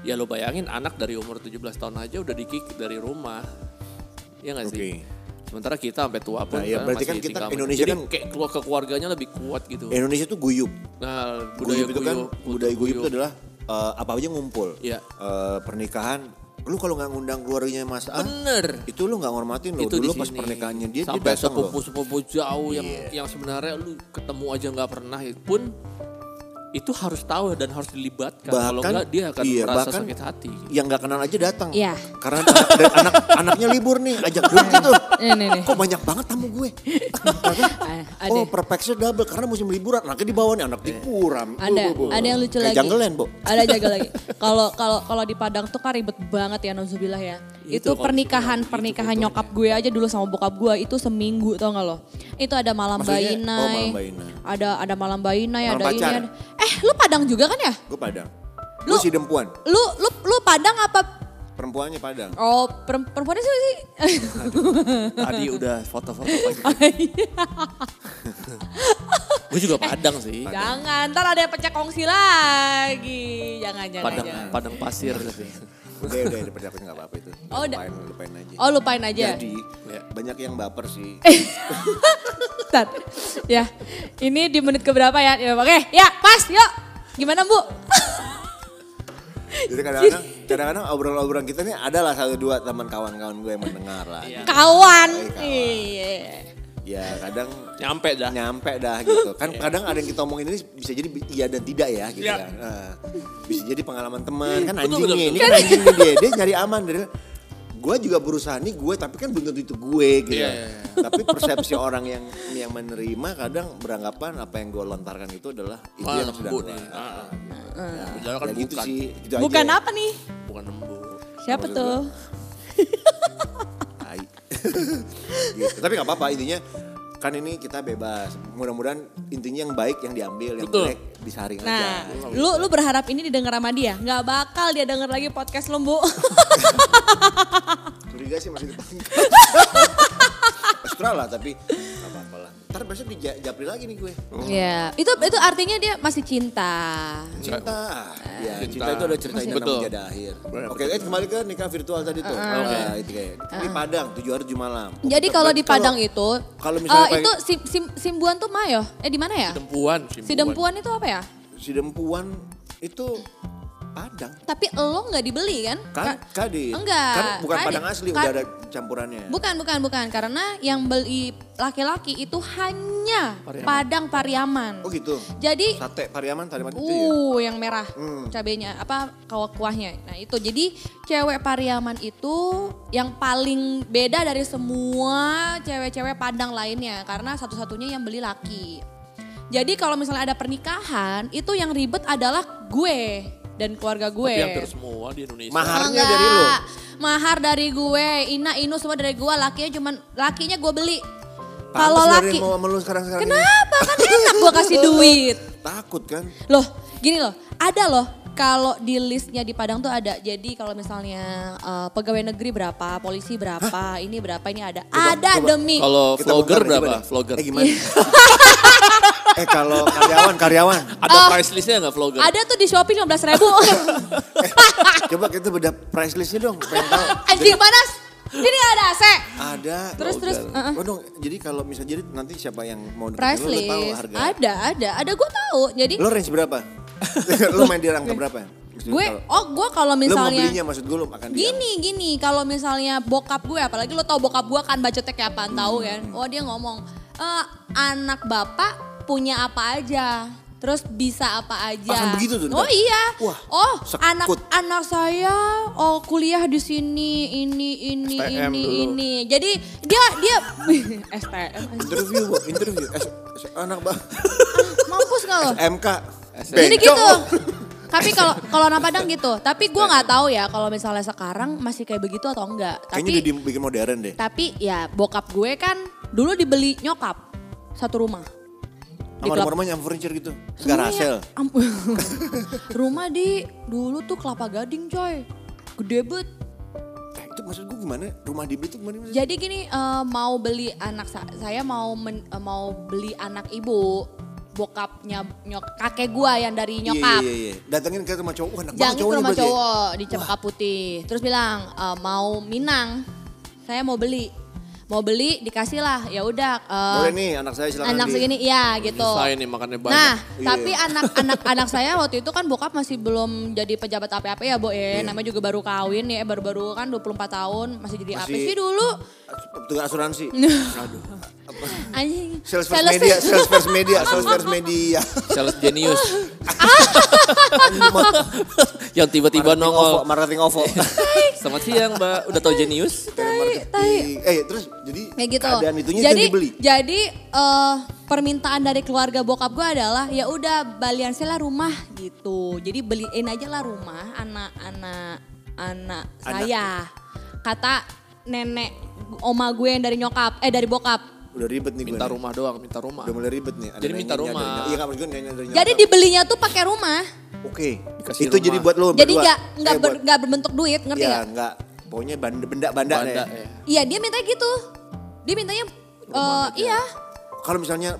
Speaker 1: Ya lo bayangin anak dari umur 17 tahun aja udah dikick dari rumah. Iya nggak sih?
Speaker 2: Oke.
Speaker 1: Sementara kita sampai tua pun
Speaker 2: Nah, iya,
Speaker 1: kan
Speaker 2: berarti
Speaker 1: masih
Speaker 2: kan kita
Speaker 1: tinggal-
Speaker 2: Indonesia
Speaker 1: Jadi
Speaker 2: kan-
Speaker 1: kayak keluar ke keluarganya lebih kuat gitu.
Speaker 2: Indonesia tuh guyup.
Speaker 1: Nah, budaya
Speaker 2: Guyup itu kan
Speaker 1: guyup,
Speaker 2: budaya guyup itu
Speaker 1: guyup.
Speaker 2: adalah eh, apa aja ngumpul.
Speaker 1: Iya.
Speaker 2: Eh, pernikahan lu kalau nggak ngundang keluarganya Mas A,
Speaker 1: bener.
Speaker 2: itu lu nggak ngormatin lo.
Speaker 1: Itu di
Speaker 2: Dulu pas
Speaker 1: sini.
Speaker 2: pernikahannya dia dia
Speaker 1: sampai
Speaker 2: datang
Speaker 1: sepupu
Speaker 2: loh. Iya.
Speaker 1: sepupu jauh yang yang sebenarnya lu ketemu aja nggak pernah itu pun itu harus tahu dan harus dilibatkan. Kalau
Speaker 2: Bahkan-
Speaker 1: enggak dia akan
Speaker 2: iya,
Speaker 1: merasa
Speaker 2: bahkan-
Speaker 1: sakit hati. gitu.
Speaker 2: Yang nggak kenal aja datang.
Speaker 3: Iya.
Speaker 2: Karena anak, dan anak- anaknya libur nih, ajak
Speaker 1: <laughs>
Speaker 2: gue gitu.
Speaker 3: Ini
Speaker 1: Eh.
Speaker 3: nih.
Speaker 2: Kok banyak banget tamu gue?
Speaker 3: Ah, Ada.
Speaker 2: Oh, perfection double karena musim liburan. Anaknya di bawah nih, anak
Speaker 1: Eh.
Speaker 2: dipuram.
Speaker 3: ada,
Speaker 2: Bu, bu, bu.
Speaker 3: ada yang lucu
Speaker 2: Kayak
Speaker 3: lagi.
Speaker 2: jungleland, Bu.
Speaker 3: Ada jaga
Speaker 2: <laughs>
Speaker 3: lagi. Kalau kalau kalau di Padang tuh kan ribet banget ya nauzubillah ya.
Speaker 1: Itu
Speaker 3: Itu,
Speaker 1: kalau di
Speaker 3: pernikahan
Speaker 1: Padang,
Speaker 3: pernikahan
Speaker 1: itu
Speaker 3: nyokap gue aja dulu sama bokap gue itu seminggu tau gak lo? Itu ada malam
Speaker 2: Maksudnya-
Speaker 3: bayinai,
Speaker 2: oh, malam bayinai.
Speaker 3: ada ada malam bayinai,
Speaker 2: Malam
Speaker 3: ada ini.
Speaker 2: pacar.
Speaker 3: Ada. Eh, lu Padang juga kan ya?
Speaker 2: Gue Padang.
Speaker 3: Lu-
Speaker 2: Gue si dempuan.
Speaker 3: Lu lu lu Padang apa
Speaker 2: perempuannya Padang.
Speaker 3: Oh, perem- perempuannya siapa
Speaker 2: <laughs>
Speaker 3: sih?
Speaker 1: Tadi udah foto-foto <laughs> pagi. Gue juga Padang sih.
Speaker 3: Jangan, ntar ada yang pecah kongsi lagi. Jangan, jangan,
Speaker 1: Padang
Speaker 3: jangan.
Speaker 1: Padang pasir
Speaker 2: Iya,
Speaker 1: sih.
Speaker 2: Udah udah daripada aku nggak apa-apa itu.
Speaker 3: Oh, udah.
Speaker 2: lupain, lupain aja.
Speaker 3: Oh, lupain aja. Eh,
Speaker 2: Jadi
Speaker 1: Ya.
Speaker 2: banyak yang baper
Speaker 3: <laughs>
Speaker 2: sih.
Speaker 3: Bentar. Ya, ini di menit keberapa ya? Ya, Oke, ya pas, yuk. Gimana Bu?
Speaker 2: Jadi kadang-kadang kadang-kadang obrolan-obrolan kita nih adalah satu dua teman kawan-kawan gue yang mendengar lah.
Speaker 1: Iya.
Speaker 3: Kawan.
Speaker 2: Ya. kawan.
Speaker 3: Iya.
Speaker 2: Ya kadang
Speaker 1: Nyampe dah.
Speaker 2: nyampe dah gitu. Kan kadang ada yang kita omongin ini bisa jadi iya dan tidak ya gitu
Speaker 1: Iya.
Speaker 2: kan. Nah, bisa jadi pengalaman teman kan
Speaker 1: Betul,
Speaker 2: anjingnya
Speaker 1: betul,
Speaker 2: ini kan anjingnya dia dia nyari aman dari gue juga berusaha nih gue tapi kan belum tentu itu gue gitu.
Speaker 1: Iya,
Speaker 2: kan.
Speaker 1: iya,
Speaker 2: Tapi persepsi orang yang yang menerima kadang beranggapan apa yang gue lontarkan itu adalah itu
Speaker 1: Wah,
Speaker 2: yang sedang
Speaker 1: lembu
Speaker 2: gue
Speaker 1: nih.
Speaker 2: lakukan.
Speaker 1: Ah,
Speaker 2: Nah,
Speaker 1: Padahal kan
Speaker 2: ya gitu
Speaker 1: bukan.
Speaker 2: sih. Gitu
Speaker 3: Bukan
Speaker 2: aja.
Speaker 3: apa nih?
Speaker 1: Bukan lembu.
Speaker 3: Siapa
Speaker 2: Maksud
Speaker 3: tuh?
Speaker 2: Tai. <laughs> gitu. Tapi nggak apa-apa intinya kan ini kita bebas. Mudah-mudahan intinya yang baik yang diambil, yang
Speaker 1: Betul.
Speaker 2: jelek disaring
Speaker 3: Nah,
Speaker 2: aja. gitu.
Speaker 3: lu lu berharap ini didengar sama dia? Nggak bakal dia denger lagi podcast lu,
Speaker 2: <laughs>
Speaker 3: Bu.
Speaker 2: Curiga sih
Speaker 3: <laughs>
Speaker 2: masih ditangkap. Ekstra lah tapi nggak apa-apa lah. Ntar besok dijapri lagi nih gue.
Speaker 3: Iya. Itu itu artinya dia masih cinta.
Speaker 2: Cinta. Ya,
Speaker 1: Cinta.
Speaker 2: cinta. itu ada cerita yang
Speaker 1: Betul.
Speaker 2: namanya ada akhir.
Speaker 1: Benar,
Speaker 2: Oke, eh, kembali ke nikah virtual tadi tuh. Nah, itu kayak di Padang 7 hari 7 malam.
Speaker 3: Ah. Jadi
Speaker 2: Kita-
Speaker 3: kalau di
Speaker 2: ya, kalau-
Speaker 3: Padang itu,
Speaker 2: kalau misalnya
Speaker 3: eh,
Speaker 2: pengen-
Speaker 3: itu sim, sim, simbuan tuh mayo. Eh di mana ya?
Speaker 1: Dempuan.
Speaker 3: Si dempuan itu apa ya?
Speaker 2: si dempuan itu Padang.
Speaker 3: Tapi lo nggak dibeli kan?
Speaker 2: Kan
Speaker 3: Ka-
Speaker 2: kadi.
Speaker 3: Enggak.
Speaker 2: Kan bukan
Speaker 3: Kadi.
Speaker 2: Padang asli
Speaker 3: Ka-
Speaker 2: udah ada campurannya.
Speaker 3: Bukan, bukan, bukan. Karena yang beli laki-laki itu hanya Padang Pariaman.
Speaker 2: Oh gitu.
Speaker 3: Jadi
Speaker 2: Sate Pariaman tadi mati itu ya.
Speaker 3: Uh, yang merah cabenya apa kawah kuahnya. Nah itu jadi cewek Pariaman itu yang paling beda dari semua cewek-cewek Padang lainnya karena satu-satunya yang beli laki. Jadi kalau misalnya ada pernikahan itu yang ribet adalah gue dan keluarga gue.
Speaker 1: Tapi hampir semua di Indonesia.
Speaker 2: Mahal. Maharnya
Speaker 3: Enggak.
Speaker 2: dari lu?
Speaker 3: Mahar dari gue, Ina, Inu semua dari gue, lakinya cuman lakinya gue beli.
Speaker 2: Pantes lu
Speaker 3: Kalau
Speaker 2: ada
Speaker 3: laki,
Speaker 2: yang mau sama lu sekarang sekarang.
Speaker 3: kenapa kan enak gue
Speaker 2: <laughs>
Speaker 3: kasih duit.
Speaker 2: Takut kan?
Speaker 3: Loh, gini loh, ada loh kalau di listnya di Padang tuh ada. Jadi kalau misalnya eh, pegawai negeri berapa, polisi berapa, ini berapa, ini ada.
Speaker 2: coba.
Speaker 3: ada demi.
Speaker 1: Kalau
Speaker 2: Kita
Speaker 1: Eh, vlogger
Speaker 2: bentar deh,
Speaker 1: berapa?
Speaker 2: gimana?
Speaker 1: Vlogger. <laughs>
Speaker 2: Eh gimana? eh kalau karyawan karyawan.
Speaker 1: Ada price listnya nggak vlogger?
Speaker 3: Ah. Ada tuh di Shopee 15
Speaker 2: <laughs>
Speaker 3: ribu.
Speaker 2: Eh, Coba kita beda price listnya dong. Pengen tahu.
Speaker 3: <laughs> Anjing panas. Ini gak ada AC.
Speaker 2: Ada.
Speaker 3: Terus, terus, uh-uh.
Speaker 2: Oh dong. Jadi kalau misalnya jadi nanti siapa yang mau deketin
Speaker 3: Price
Speaker 2: lu, lu tahu
Speaker 3: list.
Speaker 2: harga.
Speaker 3: Ada, ada. Ada gue tahu. Jadi
Speaker 2: Lo range berapa? <laughs> lo main di angka berapa? Maksudnya
Speaker 3: gue,
Speaker 2: kalau-
Speaker 3: oh gue kalau
Speaker 2: Lo mau
Speaker 3: misalnya.
Speaker 2: belinya maksud gue lo akan diam.
Speaker 3: Gini gini kalau misalnya bokap gue apalagi lo tau bokap gue kan bacotek kayak apaan tahu kan. Oh dia ngomong "Eh, anak bapak punya apa aja. Terus bisa apa aja.
Speaker 2: Akan Ah, kan begitu tuh,
Speaker 3: Oh
Speaker 2: ntar.
Speaker 3: iya.
Speaker 2: Wah,
Speaker 3: oh,
Speaker 2: sekut.
Speaker 3: anak anak saya oh kuliah di sini ini ini
Speaker 2: STM
Speaker 3: ini
Speaker 2: dulu.
Speaker 3: ini. Jadi dia dia <laughs> STM.
Speaker 2: Interview, Bu. interview. Eh, eh, anak
Speaker 1: <laughs>
Speaker 2: bah.
Speaker 3: Mampus gak lo?
Speaker 2: MK.
Speaker 3: Jadi
Speaker 2: Bencong.
Speaker 3: gitu. Tapi kalau kalau anak Padang gitu. Tapi gue nggak tahu ya kalau misalnya sekarang masih kayak begitu atau enggak. Tapi
Speaker 2: Kayaknya udah di- bikin modern deh.
Speaker 3: Tapi ya bokap gue kan dulu dibeli nyokap satu rumah.
Speaker 2: Sama
Speaker 3: Dikelap-
Speaker 2: rumah-rumahnya sama furniture gitu.
Speaker 3: Semuanya-
Speaker 2: Garasel.
Speaker 3: Am- <laughs> rumah di dulu tuh kelapa gading coy. Gede bet.
Speaker 2: Eh, itu maksud gue gimana? Rumah dibeli itu gimana? maksudnya?
Speaker 3: Jadi gini eh, mau beli anak sa- saya mau men- eh, mau beli anak ibu bokapnya nyok kakek gua yang dari
Speaker 2: Iya,
Speaker 3: nyokap.
Speaker 2: Iya, iya, iya. Datangin ke rumah cowok. Wah, anak
Speaker 3: Jangan
Speaker 2: banget
Speaker 3: ke
Speaker 2: cowok nih
Speaker 3: rumah
Speaker 2: berarti ya.
Speaker 3: cowok di Cempaka Putih. Terus bilang "Eh, mau Minang. Saya mau beli. Mau beli dikasihlah. Ya udah eh,
Speaker 2: Boleh nih anak saya silakan.
Speaker 3: anak
Speaker 2: ambil.
Speaker 3: segini ya gitu.
Speaker 1: Saya nih makannya banyak.
Speaker 3: Nah,
Speaker 2: Iya.
Speaker 3: tapi anak-anak anak saya waktu itu kan bokap masih belum jadi pejabat apa-apa ya, Bo.
Speaker 2: Iya.
Speaker 3: Ya, namanya juga baru kawin ya, baru-baru kan 24 tahun, masih jadi apa
Speaker 2: Masih-
Speaker 3: sih dulu?
Speaker 2: Tukang
Speaker 3: <laughs>
Speaker 2: asuransi. Aduh. Apa?
Speaker 3: Anjing.
Speaker 2: Sales first media, sales first media, sales first media.
Speaker 1: Sales genius.
Speaker 3: <laughs>
Speaker 2: Mah,
Speaker 1: Yang tiba-tiba
Speaker 2: marketing OVO,
Speaker 1: nongol.
Speaker 2: marketing
Speaker 1: <laughs>
Speaker 2: OVO.
Speaker 1: Selamat siang mbak. Udah tau genius?
Speaker 2: Telemarketing. Eh, terus jadi
Speaker 3: Kayak gitu.
Speaker 2: keadaan itunya itu
Speaker 3: jadi
Speaker 2: yang dibeli.
Speaker 3: jadi eh, permintaan dari keluarga bokap gue adalah ya udah balian saya lah rumah gitu. Jadi beliin aja lah rumah anak-anak anak saya. Kata nenek oma gue yang dari nyokap eh dari bokap.
Speaker 2: Udah ribet nih gue.
Speaker 1: Minta
Speaker 2: nih.
Speaker 1: rumah doang, minta rumah.
Speaker 2: Udah mulai ribet nih. ada
Speaker 1: Jadi minta
Speaker 2: nyanyinya, ada
Speaker 1: rumah.
Speaker 2: nyanyi- Iya, kapan gue nyanyi dari
Speaker 3: Jadi dibelinya tuh pakai rumah.
Speaker 2: Oke.
Speaker 1: Dikasih
Speaker 2: Itu
Speaker 1: rumah.
Speaker 2: jadi buat lo
Speaker 3: Jadi
Speaker 2: berdua.
Speaker 3: nggak nggak
Speaker 2: Eh,
Speaker 3: ber-
Speaker 2: buat-
Speaker 3: nggak berbentuk duit, ngerti
Speaker 2: Iya,
Speaker 3: nggak?
Speaker 2: nggak. Pokoknya benda benda benda
Speaker 1: Banda,
Speaker 2: ya.
Speaker 1: ya.
Speaker 3: Iya dia minta gitu. Dia mintanya eh, iya
Speaker 2: Kalau misalnya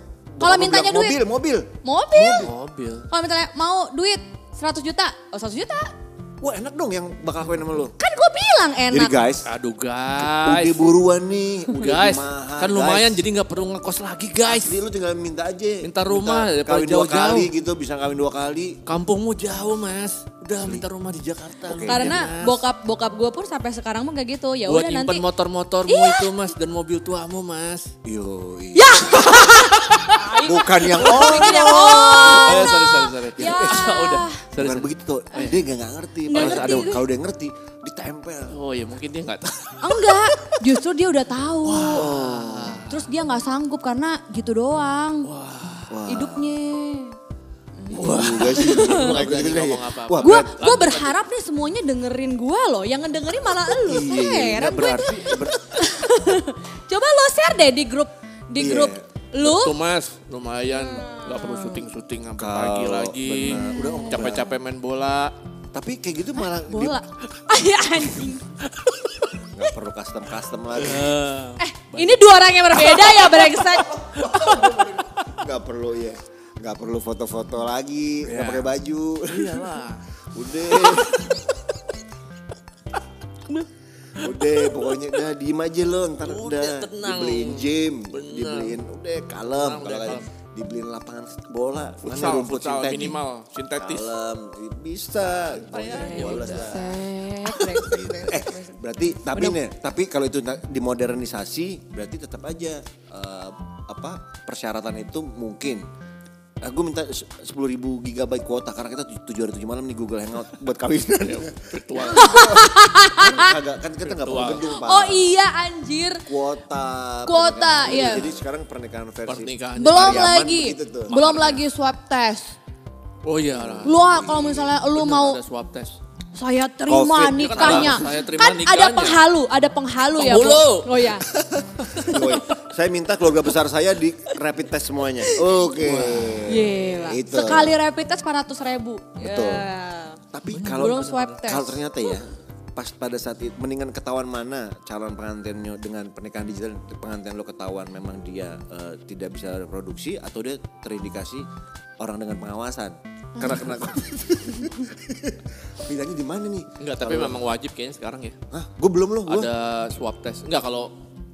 Speaker 2: bokap
Speaker 3: Kalau
Speaker 2: lo
Speaker 3: mintanya
Speaker 2: bilang,
Speaker 3: duit.
Speaker 2: mobil, mobil.
Speaker 3: mobil.
Speaker 1: Mobil.
Speaker 3: Kalau misalnya mau duit 100 juta, oh 100 juta.
Speaker 2: Wah enak dong yang bakal kawin sama lo.
Speaker 3: Kan gue bilang enak.
Speaker 2: Jadi guys,
Speaker 1: Aduh
Speaker 2: udah
Speaker 1: guys.
Speaker 2: buruan nih. Udah
Speaker 1: Guys,
Speaker 2: mahal,
Speaker 1: kan lumayan
Speaker 2: guys.
Speaker 1: jadi nggak perlu ngekos lagi guys.
Speaker 2: Jadi lu tinggal minta aja.
Speaker 1: Minta rumah daripada
Speaker 2: kawin dua
Speaker 1: jauh-jauh.
Speaker 2: kali gitu, bisa kawin dua kali.
Speaker 1: Kampungmu jauh mas. Udah minta rumah di Jakarta. lu.
Speaker 2: Iya,
Speaker 3: Karena
Speaker 1: Mas.
Speaker 3: bokap bokap gue pun sampai sekarang mah kayak gitu. Ya
Speaker 1: Buat
Speaker 3: udah
Speaker 1: nyimpen
Speaker 3: nanti.
Speaker 1: motor-motormu
Speaker 3: Iya.
Speaker 1: itu mas dan mobil tuamu mas.
Speaker 2: Yo, iya.
Speaker 1: Ya!
Speaker 2: <laughs> Bukan yang
Speaker 3: Bikin yang
Speaker 2: oh.
Speaker 3: ono.
Speaker 1: Eh, sorry sorry sorry. <laughs>
Speaker 3: Ya.
Speaker 1: udah. Sorry, Oh, iya.
Speaker 2: Bukan
Speaker 1: sorry.
Speaker 2: begitu tuh. Dia gak, nggak ngerti.
Speaker 3: Nggak
Speaker 2: Padahal
Speaker 3: ngerti
Speaker 2: ada-
Speaker 3: gue.
Speaker 2: Kalau dia ngerti, ditempel.
Speaker 1: Oh ya mungkin dia nggak tahu.
Speaker 3: oh, Enggak, justru dia udah tahu. Terus dia nggak sanggup karena gitu doang. Hidupnya.
Speaker 2: Wah, juga
Speaker 1: <laughs>
Speaker 2: sih. Bukan
Speaker 1: berani
Speaker 2: gitu deh.
Speaker 1: ngomong apa-apa.
Speaker 2: Wah,
Speaker 3: Gue
Speaker 2: berat.
Speaker 3: gua berharap nih semuanya dengerin gue loh. Yang ngedengerin malah
Speaker 2: Iya, iya,
Speaker 3: lu.
Speaker 2: iya.
Speaker 3: Heran gue
Speaker 2: berarti. ber-
Speaker 3: Coba lo share deh di grup di
Speaker 2: Iya.
Speaker 3: grup lu. Hmm.
Speaker 1: Tuh mas, lumayan nggak perlu syuting-syuting sampai
Speaker 2: Kalau
Speaker 1: pagi lagi.
Speaker 2: benar, udah ngomong
Speaker 1: Capek-capek main bola.
Speaker 2: Tapi kayak gitu malah di-
Speaker 3: Bola. <laughs> Ay, anjing.
Speaker 2: nggak perlu custom custom lagi.
Speaker 3: Eh, ini dua orang yang berbeda ya brengsek.
Speaker 2: Nggak perlu ya. Nggak perlu foto-foto lagi. Nggak pakai baju.
Speaker 1: Iya. Iyalah.
Speaker 2: <laughs> Udah. udah pokoknya udah diem aja lo ntar udah,
Speaker 1: tenang.
Speaker 2: dibeliin gym
Speaker 1: Bener.
Speaker 2: dibeliin udah kalem
Speaker 1: Tenang, udah
Speaker 2: kalau
Speaker 1: kalem.
Speaker 2: dibeliin lapangan bola mana
Speaker 1: Futsal,
Speaker 2: rumput
Speaker 1: futsal
Speaker 2: sintetik.
Speaker 1: minimal, Iya, sintetis.
Speaker 2: kalem bisa pokoknya bola lah. eh berarti tapi nih tapi kalau itu na- dimodernisasi berarti tetap aja eh, apa persyaratan itu mungkin aku minta sepuluh ribu gigabyte kuota karena kita tu- tujuh hari tujuh malam nih Google Hangout buat
Speaker 1: <laughs>
Speaker 2: kawinan
Speaker 1: Ya, Virtual.
Speaker 2: kan, kagak- kan kita nggak perlu
Speaker 1: Virtual.
Speaker 2: gedung pak
Speaker 3: Oh iya anjir.
Speaker 2: kuota
Speaker 3: Kuota,
Speaker 2: pernikahan.
Speaker 3: iya.
Speaker 2: jadi sekarang pernikahan versi
Speaker 1: Pernikahan.
Speaker 3: Belum
Speaker 2: Karyawan
Speaker 3: lagi.
Speaker 2: begitu tuh.
Speaker 3: Belum lagi swab test.
Speaker 1: Oh iya lah.
Speaker 3: Lu ah, kalau misalnya lu
Speaker 1: Bener,
Speaker 3: mau
Speaker 1: ada swab test.
Speaker 3: saya terima
Speaker 2: Covid. kan
Speaker 3: nikahnya.
Speaker 1: Saya terima
Speaker 3: kan ada
Speaker 1: nikahnya.
Speaker 3: penghalu, ada penghalu ya, Bu.
Speaker 1: Penghulu.
Speaker 3: Oh iya.
Speaker 2: Woi, saya minta keluarga besar saya di rapid test semuanya oke
Speaker 3: Gila.
Speaker 2: <laughs> Itu.
Speaker 3: Sekali rapid test 400 ribu. Iya.
Speaker 2: Betul. Tapi kalau
Speaker 3: Belum swab test.
Speaker 2: kalau ternyata ya pas pada saat itu mendingan ketahuan mana calon pengantinnya dengan pernikahan digital pengantin lo ketahuan memang dia eh, tidak bisa reproduksi atau dia terindikasi orang dengan pengawasan karena kena
Speaker 1: <laughs>
Speaker 2: covid. Bedanya di mana nih?
Speaker 1: Enggak, tapi memang wajib kayaknya sekarang ya.
Speaker 2: Hah, gue belum loh. Gua.
Speaker 1: Iya. Ada swab test. Enggak kalau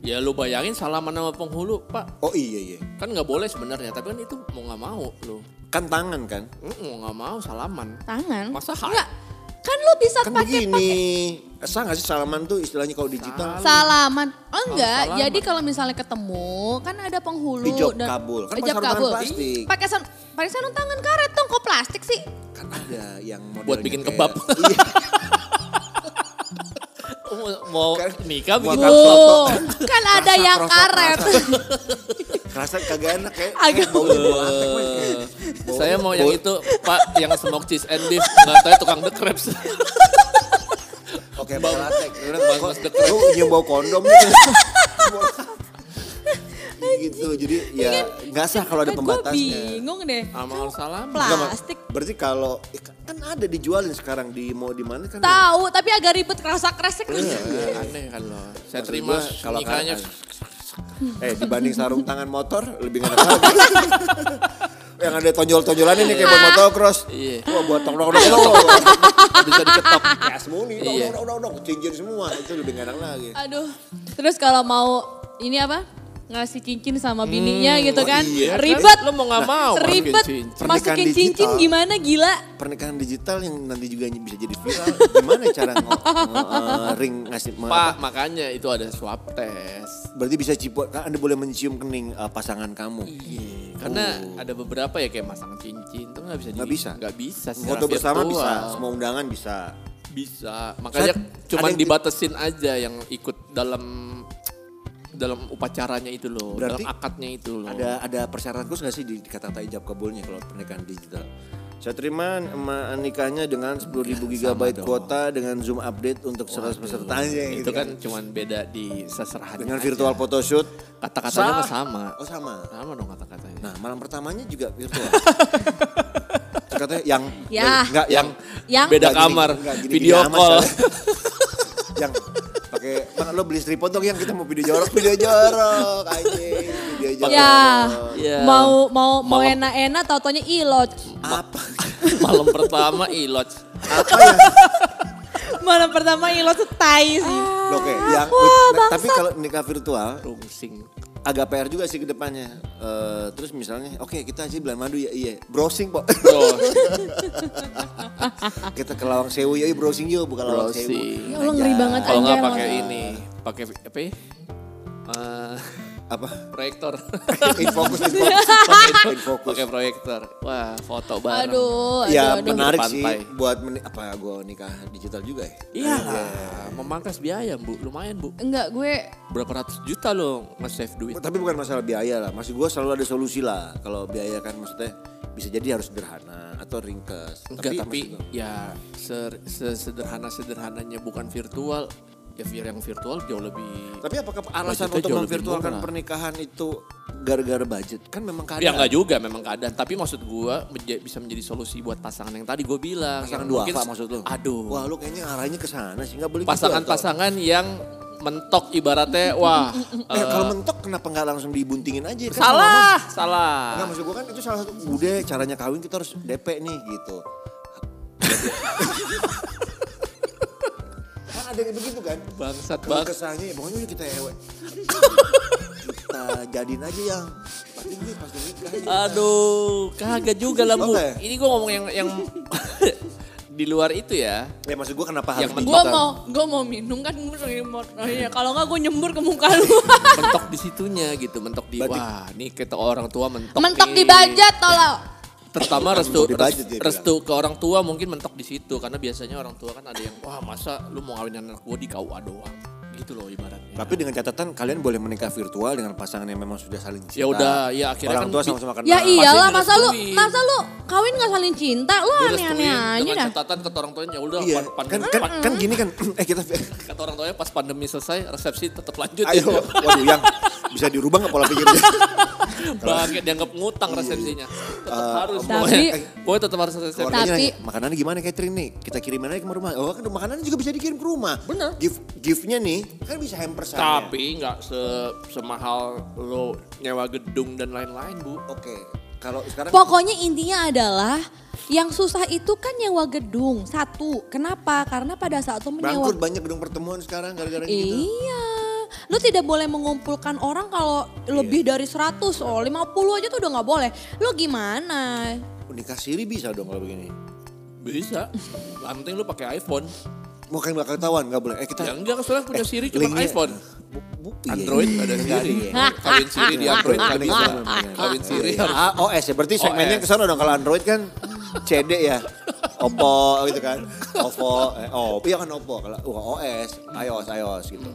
Speaker 1: ya lu bayangin salaman sama penghulu, Pak.
Speaker 2: Oh iya iya.
Speaker 1: Kan nggak boleh sebenarnya, tapi kan itu mau nggak mau lu.
Speaker 2: Kan tangan kan?
Speaker 1: Mm, Mau nggak mau salaman.
Speaker 3: Tangan.
Speaker 1: Masa hak?
Speaker 3: Enggak. Kan lu bisa
Speaker 2: Kan
Speaker 3: pakai
Speaker 2: begini. Eh, Sah nggak sih salaman tuh istilahnya kalau digital?
Speaker 3: Salaman. Oh enggak,
Speaker 1: salaman.
Speaker 3: jadi kalau misalnya ketemu kan ada penghulu
Speaker 2: Di job kabul. Kan
Speaker 3: Eh,
Speaker 2: pakai
Speaker 3: job
Speaker 2: sarung tangan
Speaker 3: kabul.
Speaker 2: plastik.
Speaker 3: Pakai san, pakai sarung tangan karet dong, kok plastik sih?
Speaker 2: Kan ada yang modelnya
Speaker 1: Buat bikin
Speaker 2: kayak-
Speaker 1: kebab.
Speaker 2: <laughs> Iya.
Speaker 1: Oh, Mau
Speaker 2: Kan-
Speaker 1: nikah bikin
Speaker 2: Buat-
Speaker 1: swab.
Speaker 3: Tuh, kan ada
Speaker 2: Kerasa,
Speaker 3: yang
Speaker 2: kerasa,
Speaker 3: karet.
Speaker 2: Kerasa kagak enak kayak
Speaker 3: Agak
Speaker 2: kayak baunya bau antek, Mas.
Speaker 1: Eh, saya mau yang itu, Pak, yang smoke cheese and beef. Enggak tahu tukang The Crepes.
Speaker 2: Oke, bau latek. Udah
Speaker 1: Bau
Speaker 2: kok
Speaker 1: Mas Dek.
Speaker 2: lu nyium <laughs> bau kondom gitu. gitu. Jadi ya nggak sah kalau ada
Speaker 3: Kan Gue
Speaker 2: pembatasnya.
Speaker 3: bingung deh.
Speaker 1: Amal salam.
Speaker 2: Nggak, Mas.
Speaker 3: Plastik.
Speaker 2: Berarti kalau ya kan- kan ada dijualin sekarang di mau di mana kan? ada.
Speaker 3: Tahu, tapi agak ribet kerasa kresek.
Speaker 1: Iya, Aneh kalau saya
Speaker 2: Maksud
Speaker 1: terima
Speaker 2: gua, kalau
Speaker 1: nikahnya
Speaker 2: kan- Eh dibanding sarung tangan motor lebih nggak enak lagi. <laughs> Yang ada tonjol-tonjolannya nih
Speaker 3: Nah.
Speaker 2: kayak buat motocross.
Speaker 1: Iya.
Speaker 2: Wah buat tong
Speaker 3: <laughs>
Speaker 2: dong dong dong.
Speaker 1: bisa diketok.
Speaker 2: Gas mulu, dong
Speaker 1: Iya.
Speaker 2: dong dong dong. Cincin semua itu lebih nggak enak lagi.
Speaker 3: Aduh. Terus kalau mau ini apa? Ngasih cincin sama bininya gitu kan.
Speaker 1: iya kan?
Speaker 3: Ribet.
Speaker 1: Hmm. Lu mau nggak mau masukin
Speaker 3: Ribet.
Speaker 1: cincin.
Speaker 2: Pernikahan
Speaker 3: Masukin cincin
Speaker 2: digital.
Speaker 3: gimana gila.
Speaker 2: pernikahan digital yang nanti juga bisa jadi viral. Gimana cara ngo- ngo- eh, ring ngasih ma-
Speaker 1: Pak, makanya itu ada swab test.
Speaker 2: Berarti bisa cipot. Kan Anda boleh mencium kening eh, pasangan kamu.
Speaker 1: Iya, karena ada beberapa ya kayak masang cincin itu nggak bisa
Speaker 2: Oh. Nggak
Speaker 1: di-
Speaker 2: bisa.
Speaker 1: nggak bisa secara
Speaker 2: Foto bersama
Speaker 1: virtual.
Speaker 2: bisa, semua undangan bisa.
Speaker 1: bisa makanya
Speaker 2: Saya-
Speaker 1: cuman
Speaker 2: ada yang-
Speaker 1: dibatesin aja yang ikut dalam dalam upacaranya itu loh
Speaker 2: Berarti
Speaker 1: dalam akadnya itu loh
Speaker 2: Ada ada persyaratan khusus nggak sih di, di kata-kata ijab kabulnya kalau pernikahan digital? Saya terima em- nikahnya dengan 10.000 GB kuota dengan Zoom update untuk 100 pesertanya
Speaker 1: itu
Speaker 2: gitu
Speaker 1: kan cuman beda di seserahan
Speaker 2: Dengan virtual photoshoot.
Speaker 1: kata-katanya mah
Speaker 2: Sah.
Speaker 1: sama
Speaker 2: Oh sama.
Speaker 1: sama dong kata-katanya
Speaker 2: Nah malam pertamanya juga virtual. Katanya yang
Speaker 3: Ya.
Speaker 2: enggak yang
Speaker 3: Yang
Speaker 1: Beda
Speaker 2: Nggak gini,
Speaker 1: kamar,
Speaker 2: nggak gini-gini
Speaker 1: video
Speaker 2: amat,
Speaker 1: call.
Speaker 2: soalnya. yang pakai mana lo beli stripon dong yang kita mau video jorok, video jorok anjing, video jorok.
Speaker 3: ya,
Speaker 1: Ya.
Speaker 3: mau mau mau
Speaker 1: Malam.
Speaker 3: enak-enak tautonya ilot.
Speaker 2: Apa?
Speaker 1: Malam pertama ilot.
Speaker 2: Apa ya?
Speaker 4: Malam pertama Ilo tuh tai sih.
Speaker 2: Oke, yang
Speaker 3: wah,
Speaker 2: nah, tapi kalau nikah virtual
Speaker 1: Rungsing.
Speaker 2: agak PR juga sih ke depannya. Eh, terus misalnya, oke kita aja bulan madu ya, iya. Browsing, Pak.
Speaker 3: <laughs>
Speaker 1: Bro,
Speaker 2: kita ke Lawang Sewu ya, iya, browsing yuk, bukan Lawang Sewu.
Speaker 1: browsing.
Speaker 3: Ya Allah ngeri banget
Speaker 1: Kalau nggak
Speaker 3: anjay,
Speaker 1: pakai
Speaker 3: maksudnya.
Speaker 1: ini, pakai apa ya? Eh, <laughs>
Speaker 2: Apa? <laughs>
Speaker 1: proyektor.
Speaker 2: Infokus, infokus. Infokus.
Speaker 1: pakai proyektor. Wah, foto bareng.
Speaker 3: Aduh, aduh,
Speaker 2: Ya
Speaker 3: aduh.
Speaker 2: menarik
Speaker 1: Di
Speaker 2: sih
Speaker 1: pantai.
Speaker 2: buat meni- apa gua nikah digital juga ya.
Speaker 1: Iyalah, Iya memangkas biaya, Bu. Lumayan, Bu.
Speaker 3: Enggak gue
Speaker 1: Berapa ratus juta lo nge-save duit.
Speaker 2: Tapi bukan masalah biaya lah. Masih gua selalu ada solusi lah. Kalau biaya kan maksudnya bisa jadi harus sederhana atau ringkas.
Speaker 1: Enggak, tapi,
Speaker 2: maksud gua,
Speaker 1: ya ser- sesederhana-sederhananya bukan virtual, ya vir- yang virtual jauh lebih...
Speaker 2: tapi apakah
Speaker 1: Budgetnya
Speaker 2: alasan untuk
Speaker 1: jauh lebih
Speaker 2: memvirtualkan
Speaker 1: murah.
Speaker 2: pernikahan itu gara-gara budget? Kan memang kadang
Speaker 1: Ya enggak juga memang keadaan, tapi maksud gua menja- bisa menjadi solusi buat pasangan yang tadi gue bilang.
Speaker 2: pasangan
Speaker 1: Yang
Speaker 2: dua
Speaker 1: mungkin-
Speaker 2: maksud lu.
Speaker 1: Aduh.
Speaker 2: Wah, lu kayaknya arahnya ke sana sih. Enggak boleh gitu, atau-
Speaker 1: Pasangan-pasangan yang mentok ibaratnya, wah...
Speaker 2: Eh,
Speaker 1: eh,
Speaker 2: kalau mentok kenapa nggak langsung dibuntingin aja? Kan lama-lama-
Speaker 1: salah, salah.
Speaker 2: Enggak maksud gue kan itu salah satu udah caranya kawin kita harus DP nih gitu. <laughs> kan ada yang begitu kan?
Speaker 1: Bangsat
Speaker 2: Kalau
Speaker 1: banget.
Speaker 2: kesannya ya pokoknya udah kita ewe. kita jadiin aja yang pasti nih pasti nikah. nih.
Speaker 1: Aduh, kagak juga lah bu.
Speaker 2: Oke.
Speaker 1: Ini gue ngomong yang yang <laughs> di luar itu ya.
Speaker 2: Ya maksud gue
Speaker 1: Yang
Speaker 2: kenapa
Speaker 3: kan
Speaker 2: harus
Speaker 1: penting-
Speaker 4: Gue
Speaker 1: Bukan.
Speaker 4: mau, gue mau minum kan gue lagi mau- oh iya, Kalau nggak gue nyembur ke muka
Speaker 1: <laughs>
Speaker 4: lu.
Speaker 1: Mentok di situnya gitu, mentok di
Speaker 2: Berarti-
Speaker 1: wah, nih kita orang tua mentok.
Speaker 3: mentok
Speaker 1: nih.
Speaker 3: di budget tolong.
Speaker 1: Terutama restu
Speaker 2: Mentok di budget
Speaker 1: res-
Speaker 2: dia bilang.
Speaker 1: restu ke orang tua mungkin mentok di situ karena biasanya orang tua kan ada yang wah masa lu mau ngawinin anak gue di KUA doang. Gitu loh ibaratnya.
Speaker 2: Tapi dengan catatan kalian boleh menikah virtual dengan pasangan yang memang sudah saling cinta.
Speaker 1: Ya udah, ya akhirnya
Speaker 2: Nah, orang
Speaker 1: kan
Speaker 2: tua
Speaker 1: bi-
Speaker 2: sama-sama kenal.
Speaker 3: Ya iyalah
Speaker 1: Pasti
Speaker 3: masa lu
Speaker 1: direstuin.
Speaker 3: masa lu kawin nggak saling cinta lu
Speaker 1: Direstuin
Speaker 3: aneh-aneh aja
Speaker 1: Iya, dengan
Speaker 3: dah.
Speaker 1: catatan kata orang tuanya udah
Speaker 2: Iya,
Speaker 1: pan- pan-
Speaker 2: kan,
Speaker 1: pan-
Speaker 2: kan, kan gini kan, eh kita,
Speaker 1: kata orang tuanya pas pandemi selesai resepsi tetap lanjut
Speaker 2: ayo,
Speaker 1: ya.
Speaker 2: waduh yang bisa dirubah nggak pola pikirnya?
Speaker 1: Bangke dianggap ngutang resepsinya. Tetap
Speaker 2: Iya, Eh,
Speaker 1: harus.
Speaker 3: Tapi-
Speaker 1: pokoknya. Pokoknya tetap harus resepsi.
Speaker 2: Keluarganya
Speaker 3: Tapi-
Speaker 2: nanya, makanannya gimana catering nih? Kita kirimin aja ke rumah. Oh kan makanannya juga bisa dikirim ke rumah.
Speaker 1: Bener.
Speaker 2: Gift giftnya nih kan bisa hampers
Speaker 1: Tapi nggak se semahal lo nyewa gedung dan lain-lain bu.
Speaker 2: Oke. Kalau sekarang
Speaker 3: Pokoknya intinya adalah yang susah itu kan nyewa gedung satu. Kenapa? Karena pada saat lu menyewa
Speaker 2: bangkrut banyak gedung pertemuan sekarang gara-gara gitu.
Speaker 3: Iya. Lu tidak boleh mengumpulkan orang kalau lebih dari 100. Oh, 50 aja tuh udah nggak boleh. Lu gimana?
Speaker 2: Nikah siri bisa dong kalau begini.
Speaker 1: Bisa. Yang penting lo pakai iPhone.
Speaker 2: Mau kan bakal ketahuan nggak boleh. Eh kita
Speaker 1: Ya enggak soalnya punya
Speaker 2: Eh,
Speaker 1: Siri cuma
Speaker 2: linknya-
Speaker 1: iPhone.
Speaker 2: Bu- bu- iya.
Speaker 1: Android nggak ada
Speaker 2: Nggak
Speaker 1: Siri.
Speaker 2: ada, ya.
Speaker 1: Kawin Siri di Android nggak bisa. Kawin Siri.
Speaker 2: Iya. AOS ya, berarti segmennya
Speaker 1: OS.
Speaker 2: ke sana dong. Kalau Android kan CD ya. Oppo gitu kan. Oppo, eh, oh, iya kan Oppo. Kalau wah, OS, iOS, iOS gitu.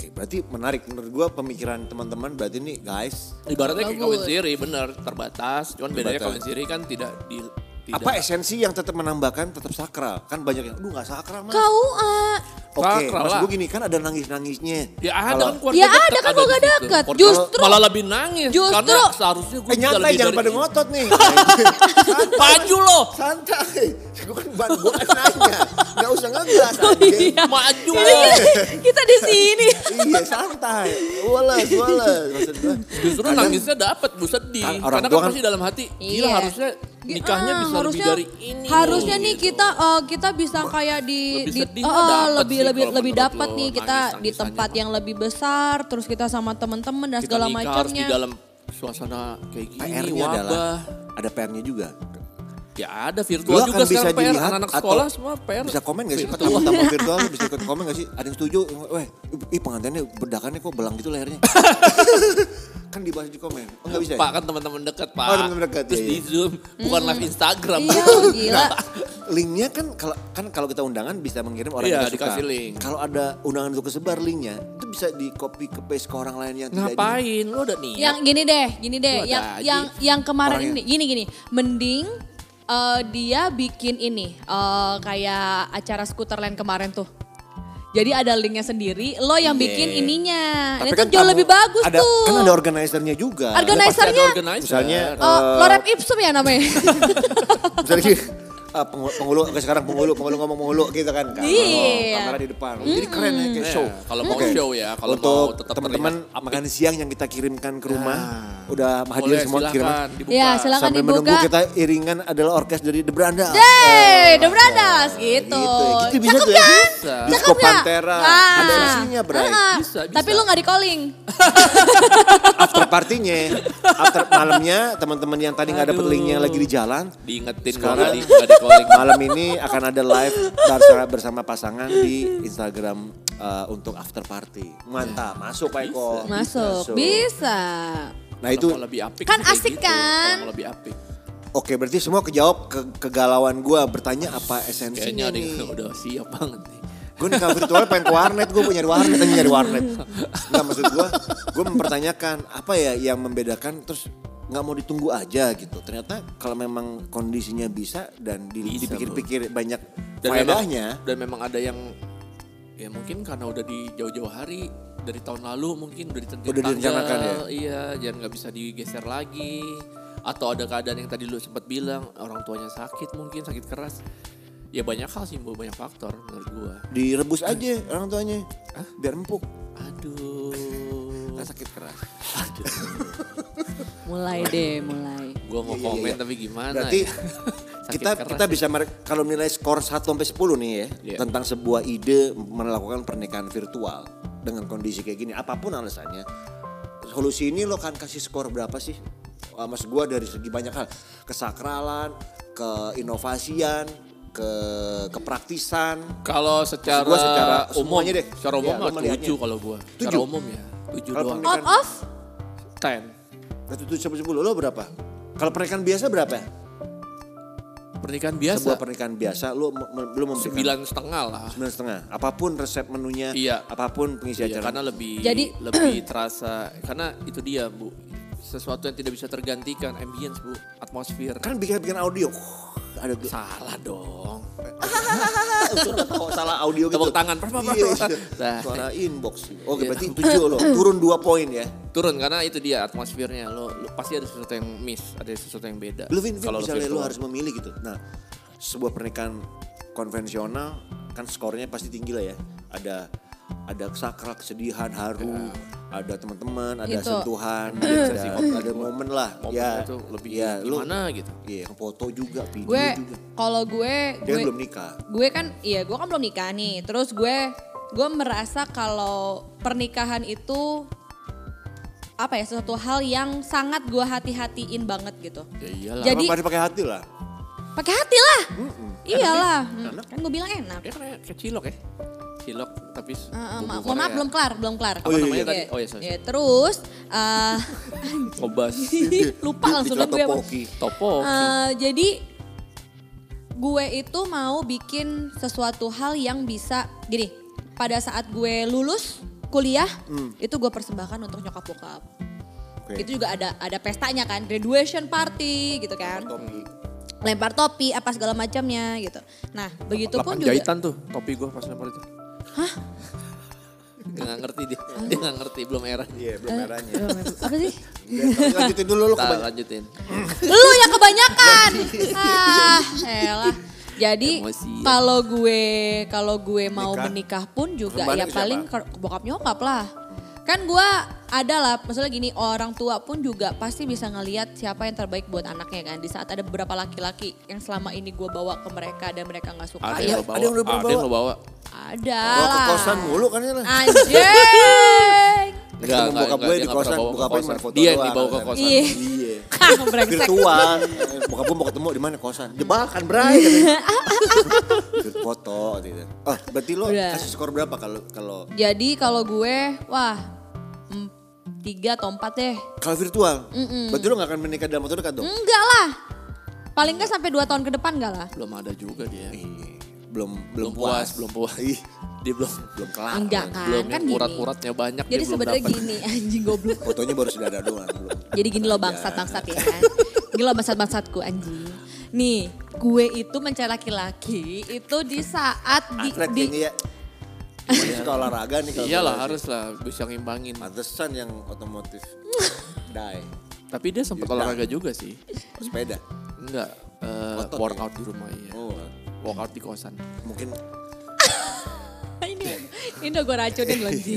Speaker 2: Oke, berarti menarik menurut gua pemikiran teman-teman berarti nih guys.
Speaker 1: Ibaratnya kayak kawin
Speaker 3: Bagus.
Speaker 1: Siri bener terbatas. Cuman bedanya
Speaker 2: Terbatas.
Speaker 1: kawin Siri kan tidak di tidak.
Speaker 2: Apa esensi yang tetap menambahkan tetap sakral? Kan banyak yang, aduh gak sakral mas.
Speaker 3: Kau ah.
Speaker 2: Oke,
Speaker 1: Sakral
Speaker 2: maksud
Speaker 1: lah.
Speaker 2: gua gini kan ada nangis-nangisnya.
Speaker 1: Ya ada
Speaker 2: Kalau-
Speaker 1: kan keluarga
Speaker 3: Ya ada
Speaker 1: deket
Speaker 3: kan
Speaker 1: di
Speaker 3: keluarga
Speaker 1: situ.
Speaker 3: deket.
Speaker 1: Keluarga-
Speaker 3: Justru-
Speaker 1: malah lebih nangis
Speaker 3: Justru-
Speaker 1: karena seharusnya gue
Speaker 2: Eh nyantai jangan pada ngotot nih. Santai.
Speaker 1: Maju lo.
Speaker 2: Santai. Gue kan ban gue kan nanya. Gak usah ngegas. anjing.
Speaker 1: Iya. Maju lo.
Speaker 3: Kita di sini.
Speaker 2: Iya santai. Wales, wales. Maksud gue.
Speaker 1: Justru
Speaker 2: kadang-
Speaker 1: nangisnya dapat, bu sedih.
Speaker 2: Kan orang
Speaker 1: Karena
Speaker 2: tua
Speaker 1: kan
Speaker 2: kan-
Speaker 1: pasti dalam hati, gila
Speaker 3: Iya.
Speaker 1: harusnya nikahnya
Speaker 3: Ah,
Speaker 1: bisa
Speaker 3: harusnya-
Speaker 1: lebih dari ini.
Speaker 3: Harusnya
Speaker 1: loh,
Speaker 3: nih
Speaker 1: gitu.
Speaker 3: kita eh, kita bisa kayak di
Speaker 1: Lebih
Speaker 3: di-
Speaker 1: sedih
Speaker 3: eh,
Speaker 1: mah dapet
Speaker 3: lebih
Speaker 1: sih
Speaker 3: lebih
Speaker 1: kalau
Speaker 3: lebih
Speaker 1: menurut
Speaker 3: dapat
Speaker 1: lo,
Speaker 3: nih kita di
Speaker 1: nangis-nangisannya
Speaker 3: tempat
Speaker 1: mah.
Speaker 3: yang lebih besar terus kita sama teman-teman dan
Speaker 1: Kita
Speaker 3: segala
Speaker 1: nikah harus di
Speaker 3: macamnya.
Speaker 1: dalam suasana kayak gini,
Speaker 2: PR-nya
Speaker 1: wabah.
Speaker 2: adalah ada PR-nya juga.
Speaker 1: Ya ada virtual
Speaker 2: Lu
Speaker 1: juga
Speaker 2: akan bisa
Speaker 1: sekarang PR,
Speaker 2: dilihat
Speaker 1: anak-anak
Speaker 2: atau
Speaker 1: sekolah semua PR.
Speaker 2: bisa komen gak sih
Speaker 1: virtual.
Speaker 2: pertama
Speaker 1: <laughs>
Speaker 2: tamu virtual lu bisa ikut komen gak sih ada yang setuju weh ih pengantinnya bedakannya kok belang gitu
Speaker 1: <laughs>
Speaker 2: lehernya kan dibahas di komen oh, gak bisa ya?
Speaker 1: Pak kan teman-teman dekat pak.
Speaker 2: Oh, teman-teman dekat,
Speaker 1: Terus
Speaker 2: iya,
Speaker 1: di
Speaker 2: iya.
Speaker 1: Zoom, bukan live Instagram. <laughs>
Speaker 3: Iya, gila.
Speaker 1: Nah,
Speaker 2: linknya kan kalau kan kalau kita undangan bisa mengirim orang
Speaker 1: Iya,
Speaker 2: yang kita suka.
Speaker 1: dikasih link.
Speaker 2: Kalau ada undangan itu kesebar linknya, itu bisa di copy ke paste ke orang lain yang tidak di-
Speaker 1: Ngapain? Lo udah nih.
Speaker 3: Yang gini deh, gini deh,
Speaker 1: Lu ada
Speaker 3: yang
Speaker 1: aja.
Speaker 3: yang yang kemarin
Speaker 2: Orangnya.
Speaker 3: ini, gini gini, mending eh, dia bikin ini eh, kayak acara Scooterland kemarin tuh. Jadi ada linknya sendiri, lo yang bikin
Speaker 2: Iya. Tapi
Speaker 3: ininya. Nah, itu
Speaker 2: kan
Speaker 3: jauh
Speaker 2: tamu-
Speaker 3: lebih bagus
Speaker 2: ada,
Speaker 3: tuh. Eh,
Speaker 2: Kan ada organisernya juga.
Speaker 1: Pasti ada
Speaker 3: Organisernya,
Speaker 1: organizer.
Speaker 2: Misalnya <laughs>
Speaker 3: eh, Lorem Ipsum ya namanya.
Speaker 2: eh, Misalnya <laughs> gini, ah, pengu- penghulu, oke, sekarang penghulu, penghulu ngomong penghulu gitu kan. kan
Speaker 3: Iya.
Speaker 2: Kamera di depan. Jadi keren ya kayak
Speaker 1: Iya,
Speaker 2: show.
Speaker 1: kalau mau
Speaker 2: Oke.
Speaker 1: show ya, kalau
Speaker 2: Untuk
Speaker 1: mau tetap
Speaker 2: teman-teman
Speaker 1: terlihat apik.
Speaker 2: makan siang yang kita kirimkan ke rumah, udah hadir
Speaker 1: Boleh,
Speaker 2: semua
Speaker 1: silakan
Speaker 2: kiriman.
Speaker 1: dibuka.
Speaker 3: Ya silakan
Speaker 2: Sambil menunggu
Speaker 3: dibuka.
Speaker 2: kita iringan adalah orkes dari The Brandas.
Speaker 3: Hey, The Brandas gitu.
Speaker 2: Gitu ya. Gitu bisa
Speaker 3: Cakep
Speaker 2: tuh ya.
Speaker 3: kan?
Speaker 1: Bisa.
Speaker 2: Disco
Speaker 3: Cakep nggak?
Speaker 2: Pantera.
Speaker 3: Ah.
Speaker 2: Ada isinya, Bray.
Speaker 3: Ah,
Speaker 1: Bisa, bisa.
Speaker 3: Tapi lu gak di calling.
Speaker 2: After partinya, after malamnya teman-teman yang tadi nggak dapet linknya lagi di jalan,
Speaker 1: Diingetin kalau
Speaker 2: <laughs> Sekarang-
Speaker 1: di nggak di calling.
Speaker 2: Malam ini akan ada live bersama, bersama pasangan di Instagram eh, untuk after party. Mantap, masuk Pak Eko.
Speaker 3: Masuk. Iya. Bisa.
Speaker 2: Nah
Speaker 1: Kalau
Speaker 2: itu,
Speaker 1: mau lebih apik
Speaker 3: Kan
Speaker 1: tuh kayak
Speaker 3: asik
Speaker 1: gitu,
Speaker 3: kan?
Speaker 1: Kalau mau lebih apik.
Speaker 2: oke berarti semua kejawab ke kegalauan gue bertanya apa
Speaker 1: Kayaknya
Speaker 2: esensinya
Speaker 1: nih
Speaker 2: nih.
Speaker 1: udah siap banget nih.
Speaker 2: Gue nikah virtual pengen ke warnet, gue punya warnet, tapi nyari warnet. Nggak maksud gue, gue mempertanyakan apa ya yang membedakan terus nggak mau ditunggu aja gitu. Ternyata kalau memang kondisinya bisa dan di-
Speaker 1: Bisa,
Speaker 2: dipikir-pikir banyak
Speaker 1: Dan memang,
Speaker 2: faedahnya.
Speaker 1: dan memang ada yang ya mungkin karena udah di jauh-jauh hari dari tahun lalu mungkin udah ditentuin
Speaker 2: Udah direncanakan ya?
Speaker 1: tanggal, Iya, jangan nggak bisa digeser lagi. Atau ada keadaan yang tadi lu sempat bilang orang tuanya sakit mungkin sakit keras. Ya banyak hal sih, Bu, banyak faktor menurut gua.
Speaker 2: direbus aja orang tuanya biar empuk
Speaker 1: Aduh.
Speaker 2: kan sakit keras
Speaker 3: Mulai deh, mulai.
Speaker 1: Gua mau
Speaker 2: Iya, iya,
Speaker 1: komen
Speaker 2: iya.
Speaker 1: tapi gimana
Speaker 2: berarti <laughs>
Speaker 1: ya? Sakit
Speaker 2: kita
Speaker 1: keras ya.
Speaker 2: kita bisa mere- kalau nilai skor 1 sampai 10 nih ya
Speaker 1: Iya.
Speaker 2: tentang sebuah ide melakukan pernikahan virtual dengan kondisi kayak gini apapun alasannya solusi ini lo kan kasih skor berapa sih Ah, mas gua dari segi banyak hal kesakralan keinovasian ke kepraktisan
Speaker 1: Kalau secara,
Speaker 2: Gua secara
Speaker 1: umum,
Speaker 2: semuanya deh.
Speaker 1: secara umum
Speaker 2: Ya, lu
Speaker 1: mah
Speaker 2: melihatnya.
Speaker 1: tujuh kalau gua. Secara
Speaker 2: Tujuh?
Speaker 1: umum ya, tujuh
Speaker 2: Kalau
Speaker 1: doang.
Speaker 2: pernikahan-
Speaker 3: Out of?
Speaker 1: Ten.
Speaker 2: dari 7 sampai 10 lo berapa kalau pernikahan biasa berapa ya?
Speaker 1: Pernikahan biasa,
Speaker 2: sebuah pernikahan biasa lo belum memberikan
Speaker 1: sembilan setengah lah.
Speaker 2: sembilan setengah. Apapun resep menunya,
Speaker 1: Iya.
Speaker 2: apapun pengisi
Speaker 1: Iya,
Speaker 2: acara.
Speaker 1: karena lebih
Speaker 3: Jadi-
Speaker 1: lebih terasa. Karena itu dia bu, sesuatu yang tidak bisa tergantikan, ambience bu, atmosfer.
Speaker 2: kan bikin bikin audio. ada tuh.
Speaker 1: Salah dong.
Speaker 2: Kok salah audio gitu.
Speaker 1: Tepuk tangan, prap, prap, prap.
Speaker 2: Iya, iya.
Speaker 1: Nah.
Speaker 2: Suara inbox. Oke,
Speaker 1: Iya.
Speaker 2: Oh, berarti tujuh loh. Turun dua poin ya.
Speaker 1: Turun karena itu dia atmosfernya. Lo, lo pasti ada sesuatu yang miss, ada sesuatu yang beda.
Speaker 2: Lu Vin, Vin,
Speaker 1: Kalau lo
Speaker 2: misalnya lu
Speaker 1: virtual.
Speaker 2: harus memilih gitu. Nah, sebuah pernikahan konvensional kan skornya pasti tinggi lah ya. Ada ada sakral kesedihan haru, ada teman-teman, ada
Speaker 3: Itu.
Speaker 2: sentuhan,
Speaker 3: Iya.
Speaker 1: sesi
Speaker 2: ada,
Speaker 1: momen.
Speaker 2: ada Iya. momen lah.
Speaker 1: Momen
Speaker 2: ya,
Speaker 1: itu lebih
Speaker 2: ya, lu,
Speaker 1: gimana gitu.
Speaker 2: Iya, yang foto juga, video
Speaker 3: Gue,
Speaker 2: juga.
Speaker 3: kalau gue,
Speaker 2: Dia
Speaker 3: gue,
Speaker 2: belum nikah.
Speaker 3: gue kan, iya gue kan belum nikah nih. Terus gue, gue merasa kalau pernikahan itu apa ya sesuatu hal yang sangat gue hati-hatiin banget gitu.
Speaker 1: Ya iyalah.
Speaker 3: Jadi-
Speaker 2: Emang pasti pakai hati lah.
Speaker 3: Pakai hati lah, iyalah. Hmm, Kan gue bilang enak.
Speaker 1: Ya karena kayak cilok ya. Cilok tapi
Speaker 3: Eh, eh,
Speaker 1: bumbu
Speaker 3: ma- mohon maaf
Speaker 1: Korea.
Speaker 3: belum kelar, belum kelar.
Speaker 1: Apa namanya
Speaker 3: Iya.
Speaker 1: tadi? Oh, iya, sorry,
Speaker 3: Iya, Terus eh, <laughs>
Speaker 1: Kobas.
Speaker 3: lupa langsung
Speaker 2: Dicela
Speaker 3: kan gue. apa.
Speaker 2: topoki.
Speaker 1: Topo.
Speaker 3: Eh, jadi gue itu mau bikin sesuatu hal yang bisa gini. Pada saat gue lulus kuliah, itu gue persembahkan untuk nyokap bokap.
Speaker 2: Hmm. Oke.
Speaker 3: Itu juga ada ada pestanya kan, graduation party gitu kan.
Speaker 2: Topi.
Speaker 3: Lempar topi apa segala macamnya gitu. Nah, begitu
Speaker 1: Lapan
Speaker 3: pun juga
Speaker 1: jahitan tuh topi gue pas lempar itu. Hah? Dia gak ngerti dia. Dia gak ngerti belum era.
Speaker 2: Iya, belum
Speaker 3: Eh.
Speaker 2: merahnya.
Speaker 3: apa sih?
Speaker 2: Udah, tapi lanjutin dulu lu
Speaker 1: Kita
Speaker 2: kebanyakan.
Speaker 1: lanjutin.
Speaker 3: Lu yang
Speaker 2: <laughs>
Speaker 3: kebanyakan. ah, elah. Jadi
Speaker 1: Emosian.
Speaker 3: kalau gue kalau gue mau
Speaker 2: Nikah.
Speaker 3: menikah pun juga
Speaker 2: Kemana
Speaker 3: ya
Speaker 2: ke
Speaker 3: paling ke bokap nyokap lah. Kan gue ada lah, maksudnya gini orang tua pun juga pasti bisa ngeliat siapa yang terbaik buat anaknya kan. Di saat ada beberapa laki-laki yang selama ini gue bawa ke mereka dan mereka nggak suka
Speaker 1: Ada yang
Speaker 3: ya
Speaker 1: lo bawa.
Speaker 2: ada yang lo
Speaker 1: Ada yang lo bawa.
Speaker 3: ada
Speaker 2: Gua ke
Speaker 3: lah.
Speaker 2: kosan mulu kan ya lah. <laughs>
Speaker 3: Ah. Anjing.
Speaker 1: Enggak,
Speaker 2: Ketemu bokap
Speaker 1: enggak,
Speaker 2: gue
Speaker 1: dia
Speaker 2: di
Speaker 1: nggak pernah
Speaker 2: kosan,
Speaker 1: bawa ke
Speaker 2: bokap gue cuma
Speaker 1: kosan.
Speaker 2: foto
Speaker 1: Dia yang
Speaker 2: doang,
Speaker 1: dibawa ke
Speaker 2: kan.
Speaker 1: kosan.
Speaker 3: Iya.
Speaker 2: Iya.
Speaker 3: Hah, brengsek.
Speaker 2: Virtual. Bokap gue mau ketemu di mana kosan? Jebakan, Bray. katanya. Foto gitu. Oh, berarti lo
Speaker 3: Udah.
Speaker 2: kasih skor berapa kalau kalau
Speaker 3: Jadi kalau gue, wah mm, tiga atau empat deh.
Speaker 2: kalau virtual? Berarti lo gak akan menikah dalam waktu dekat dong?
Speaker 3: Enggak lah. Paling nggak sampai dua tahun ke depan enggak lah.
Speaker 1: Belum ada juga dia.
Speaker 2: Iya. Belum
Speaker 1: Belum puas, belum puas.
Speaker 2: Ih,
Speaker 1: Dia belum
Speaker 2: belum kelar.
Speaker 3: Enggak kan,
Speaker 1: belum
Speaker 3: kan
Speaker 1: yang
Speaker 3: gini.
Speaker 1: urat-uratnya banyak
Speaker 3: Jadi
Speaker 1: dia belum
Speaker 3: sebenarnya
Speaker 1: dapet.
Speaker 3: gini, anjing goblok.
Speaker 2: Fotonya baru sudah ada doang. belum.
Speaker 3: Jadi gini loh
Speaker 1: Iya.
Speaker 3: bangsat-bangsat ya. Gini loh bangsat-bangsatku anjing. Nih, gue itu mencari laki-laki itu di saat di,
Speaker 2: Atlet
Speaker 3: di-
Speaker 2: kayaknya
Speaker 1: iya.
Speaker 2: ya. Ini suka olahraga nih kalau
Speaker 1: Iyalah
Speaker 2: olahraga.
Speaker 1: harus Iya lah bisa ngimbangin.
Speaker 2: Pantesan yang
Speaker 3: <laughs>
Speaker 2: otomotif. Die.
Speaker 1: Tapi dia sempat olahraga juga sih.
Speaker 2: Sepeda.
Speaker 1: Enggak. eh,
Speaker 2: Otot ya?
Speaker 1: workout di rumah iya.
Speaker 2: Oh,
Speaker 1: Workout di kosan.
Speaker 2: mungkin
Speaker 3: <laughs> ini ini udah gue racunin loh Ji.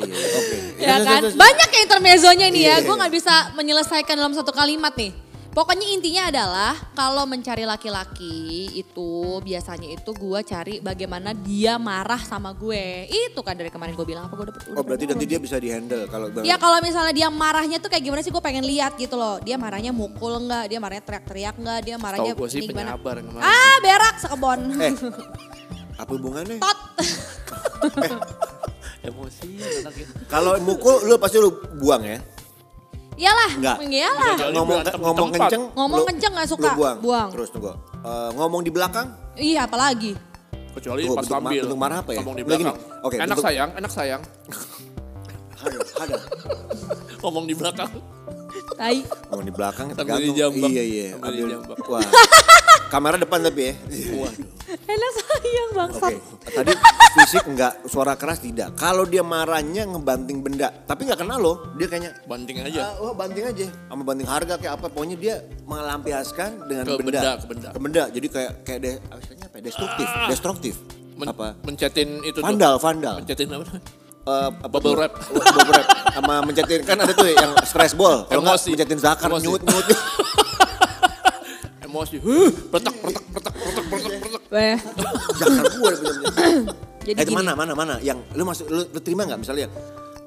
Speaker 2: iya, oke.
Speaker 3: ya
Speaker 2: Terus,
Speaker 3: kan
Speaker 2: terus, terus.
Speaker 3: banyak ya intermezzonya nih ya
Speaker 2: Iya.
Speaker 3: gue nggak bisa menyelesaikan dalam satu kalimat nih pokoknya intinya adalah kalau mencari laki-laki itu biasanya itu gue cari bagaimana dia marah sama gue itu kan dari kemarin gue bilang apa gue dapet
Speaker 2: Oh, berarti nanti dia bisa dihandle kalau
Speaker 3: Ya kalau misalnya dia marahnya tuh kayak gimana sih gue pengen lihat gitu loh. Dia marahnya mukul enggak, dia marahnya teriak-teriak enggak, dia marahnya
Speaker 1: Tahu gue sih
Speaker 3: ini gimana.
Speaker 1: penyabar yang kemarin.
Speaker 3: Ah berak sekebon.
Speaker 2: Eh, apa hubungannya?
Speaker 3: Tot.
Speaker 1: Emosi anaknya.
Speaker 3: gitu.
Speaker 2: Kalau mukul lu pasti lu buang ya.
Speaker 3: <laughs> Iyalah,
Speaker 2: Enggak.
Speaker 3: iyalah.
Speaker 1: Jadi
Speaker 2: ngomong
Speaker 1: berantem di
Speaker 2: ngomong
Speaker 1: tempat.
Speaker 2: kenceng.
Speaker 3: Ngomong
Speaker 2: lu-
Speaker 3: kenceng nggak
Speaker 2: lu
Speaker 3: suka,
Speaker 2: buang.
Speaker 3: buang.
Speaker 2: Terus tunggu. Eh, ngomong di belakang
Speaker 3: Iya apalagi.
Speaker 1: Kecuali
Speaker 2: Tuh,
Speaker 1: pas
Speaker 2: bentuk ma-
Speaker 1: sambil.
Speaker 2: bentuk marah apa ya?
Speaker 1: Ngomong di
Speaker 2: Udah gini,
Speaker 1: belakang.
Speaker 2: oke,
Speaker 1: enak
Speaker 2: bentuk-
Speaker 1: sayang, enak sayang.
Speaker 3: <laughs>
Speaker 2: ada ada.
Speaker 1: Ngomong di belakang.
Speaker 2: <laughs>
Speaker 3: Tai.
Speaker 2: Ngomong di belakang
Speaker 1: Sambil
Speaker 2: tergantung.
Speaker 1: dijambak.
Speaker 2: Iya iya.
Speaker 1: Sambil
Speaker 2: ambil-
Speaker 1: dijambak.
Speaker 2: Wah. Kamera depan tapi ya.
Speaker 1: Waduh.
Speaker 3: Enak sayang bangsat.
Speaker 2: Oke. Tadi fisik enggak, suara keras tidak. Kalau dia marahnya ngebanting benda, tapi nggak kenal loh. Dia kayaknya
Speaker 1: Banting aja.
Speaker 3: Eh,
Speaker 2: Ah, wah
Speaker 3: oh,
Speaker 2: banting aja sama banting harga kayak apa pokoknya dia melampiaskan dengan
Speaker 1: Ke
Speaker 2: benda,
Speaker 1: benda, ke benda. Ah.
Speaker 2: jadi kayak kayak de, asalnya apa ya? destruktif destruktif
Speaker 1: Men-
Speaker 2: apa
Speaker 1: Mencetin itu tuh.
Speaker 2: vandal vandal
Speaker 1: Mencetin apa? <laughs> namanya?
Speaker 2: Eh, apa
Speaker 1: Bubble
Speaker 2: tuh?
Speaker 1: wrap.
Speaker 2: <laughs> bubble wrap sama mencetin kan ada tuh yang stress ball kalau nggak
Speaker 1: Emosi.
Speaker 2: mencetin zakar
Speaker 1: Emosi.
Speaker 2: nyut nyut <laughs>
Speaker 1: Emosi. Huh, retak, retak, retak, retak, retak, retak.
Speaker 3: Weh.
Speaker 2: zakar gue
Speaker 3: Jadi
Speaker 2: eh
Speaker 3: gini.
Speaker 2: mana mana mana yang lu masuk lu, lu terima nggak misalnya yang,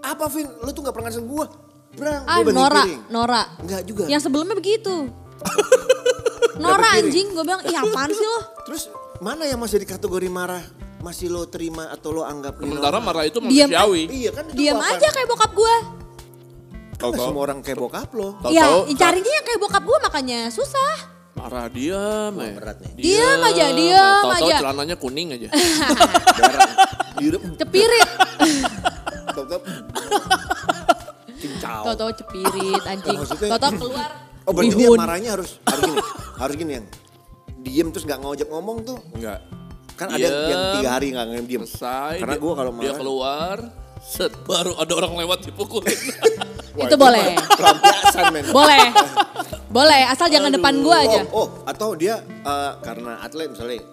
Speaker 2: apa Vin lu tuh nggak pernah ngasih gue Brang,
Speaker 3: Ah
Speaker 2: gua banting
Speaker 3: Nora,
Speaker 2: piring.
Speaker 3: Nora.
Speaker 2: Enggak juga.
Speaker 3: Yang sebelumnya
Speaker 2: <laughs>
Speaker 3: begitu. Nora
Speaker 2: piring.
Speaker 3: anjing, gue bilang, iya apaan sih lo?
Speaker 2: Terus mana yang masih di kategori marah? Masih lo terima atau lo anggap ini
Speaker 1: Sementara
Speaker 2: normal?
Speaker 1: marah itu
Speaker 3: Diam.
Speaker 1: manusiawi.
Speaker 2: Iya kan itu
Speaker 3: Diam
Speaker 2: apa?
Speaker 3: aja kayak bokap gue.
Speaker 2: Kan nggak
Speaker 1: Tahu-tahu.
Speaker 2: semua orang kayak bokap lo.
Speaker 1: Tahu-tahu
Speaker 3: Iya,
Speaker 1: saat-
Speaker 3: carinya yang kayak bokap gue makanya susah.
Speaker 1: Marah diam aja.
Speaker 2: berat nih.
Speaker 3: Diam aja, diam
Speaker 1: Tahu-tahu
Speaker 3: aja.
Speaker 1: celananya kuning
Speaker 3: <laughs>
Speaker 1: aja.
Speaker 2: Darah. Direm. <laughs>
Speaker 3: Cepirit.
Speaker 2: Tahu-tahu. Cincau.
Speaker 3: Toto cepirit anjing.
Speaker 2: Maksudnya-
Speaker 3: Toto keluar.
Speaker 2: Oh berarti dia
Speaker 3: bihun.
Speaker 2: marahnya harus harus gini. harus gini yang diem terus nggak ngojek ngomong tuh.
Speaker 1: Enggak.
Speaker 2: Kan ada yang- yang
Speaker 1: Diem.
Speaker 2: tiga hari nggak ngem diem.
Speaker 1: Iya. Selesai.
Speaker 2: Karena
Speaker 1: dia-
Speaker 2: gue kalau
Speaker 1: Dia
Speaker 2: marah.
Speaker 1: keluar. Set, baru ada orang lewat
Speaker 2: <laughs>
Speaker 1: dipukulin.
Speaker 2: Wah,
Speaker 3: Itu boleh.
Speaker 2: mah Pelampiasan men.
Speaker 3: <laughs> Boleh. Boleh, asal jangan depan gua aja.
Speaker 2: Oh, oh, atau dia eh, karena atlet misalnya.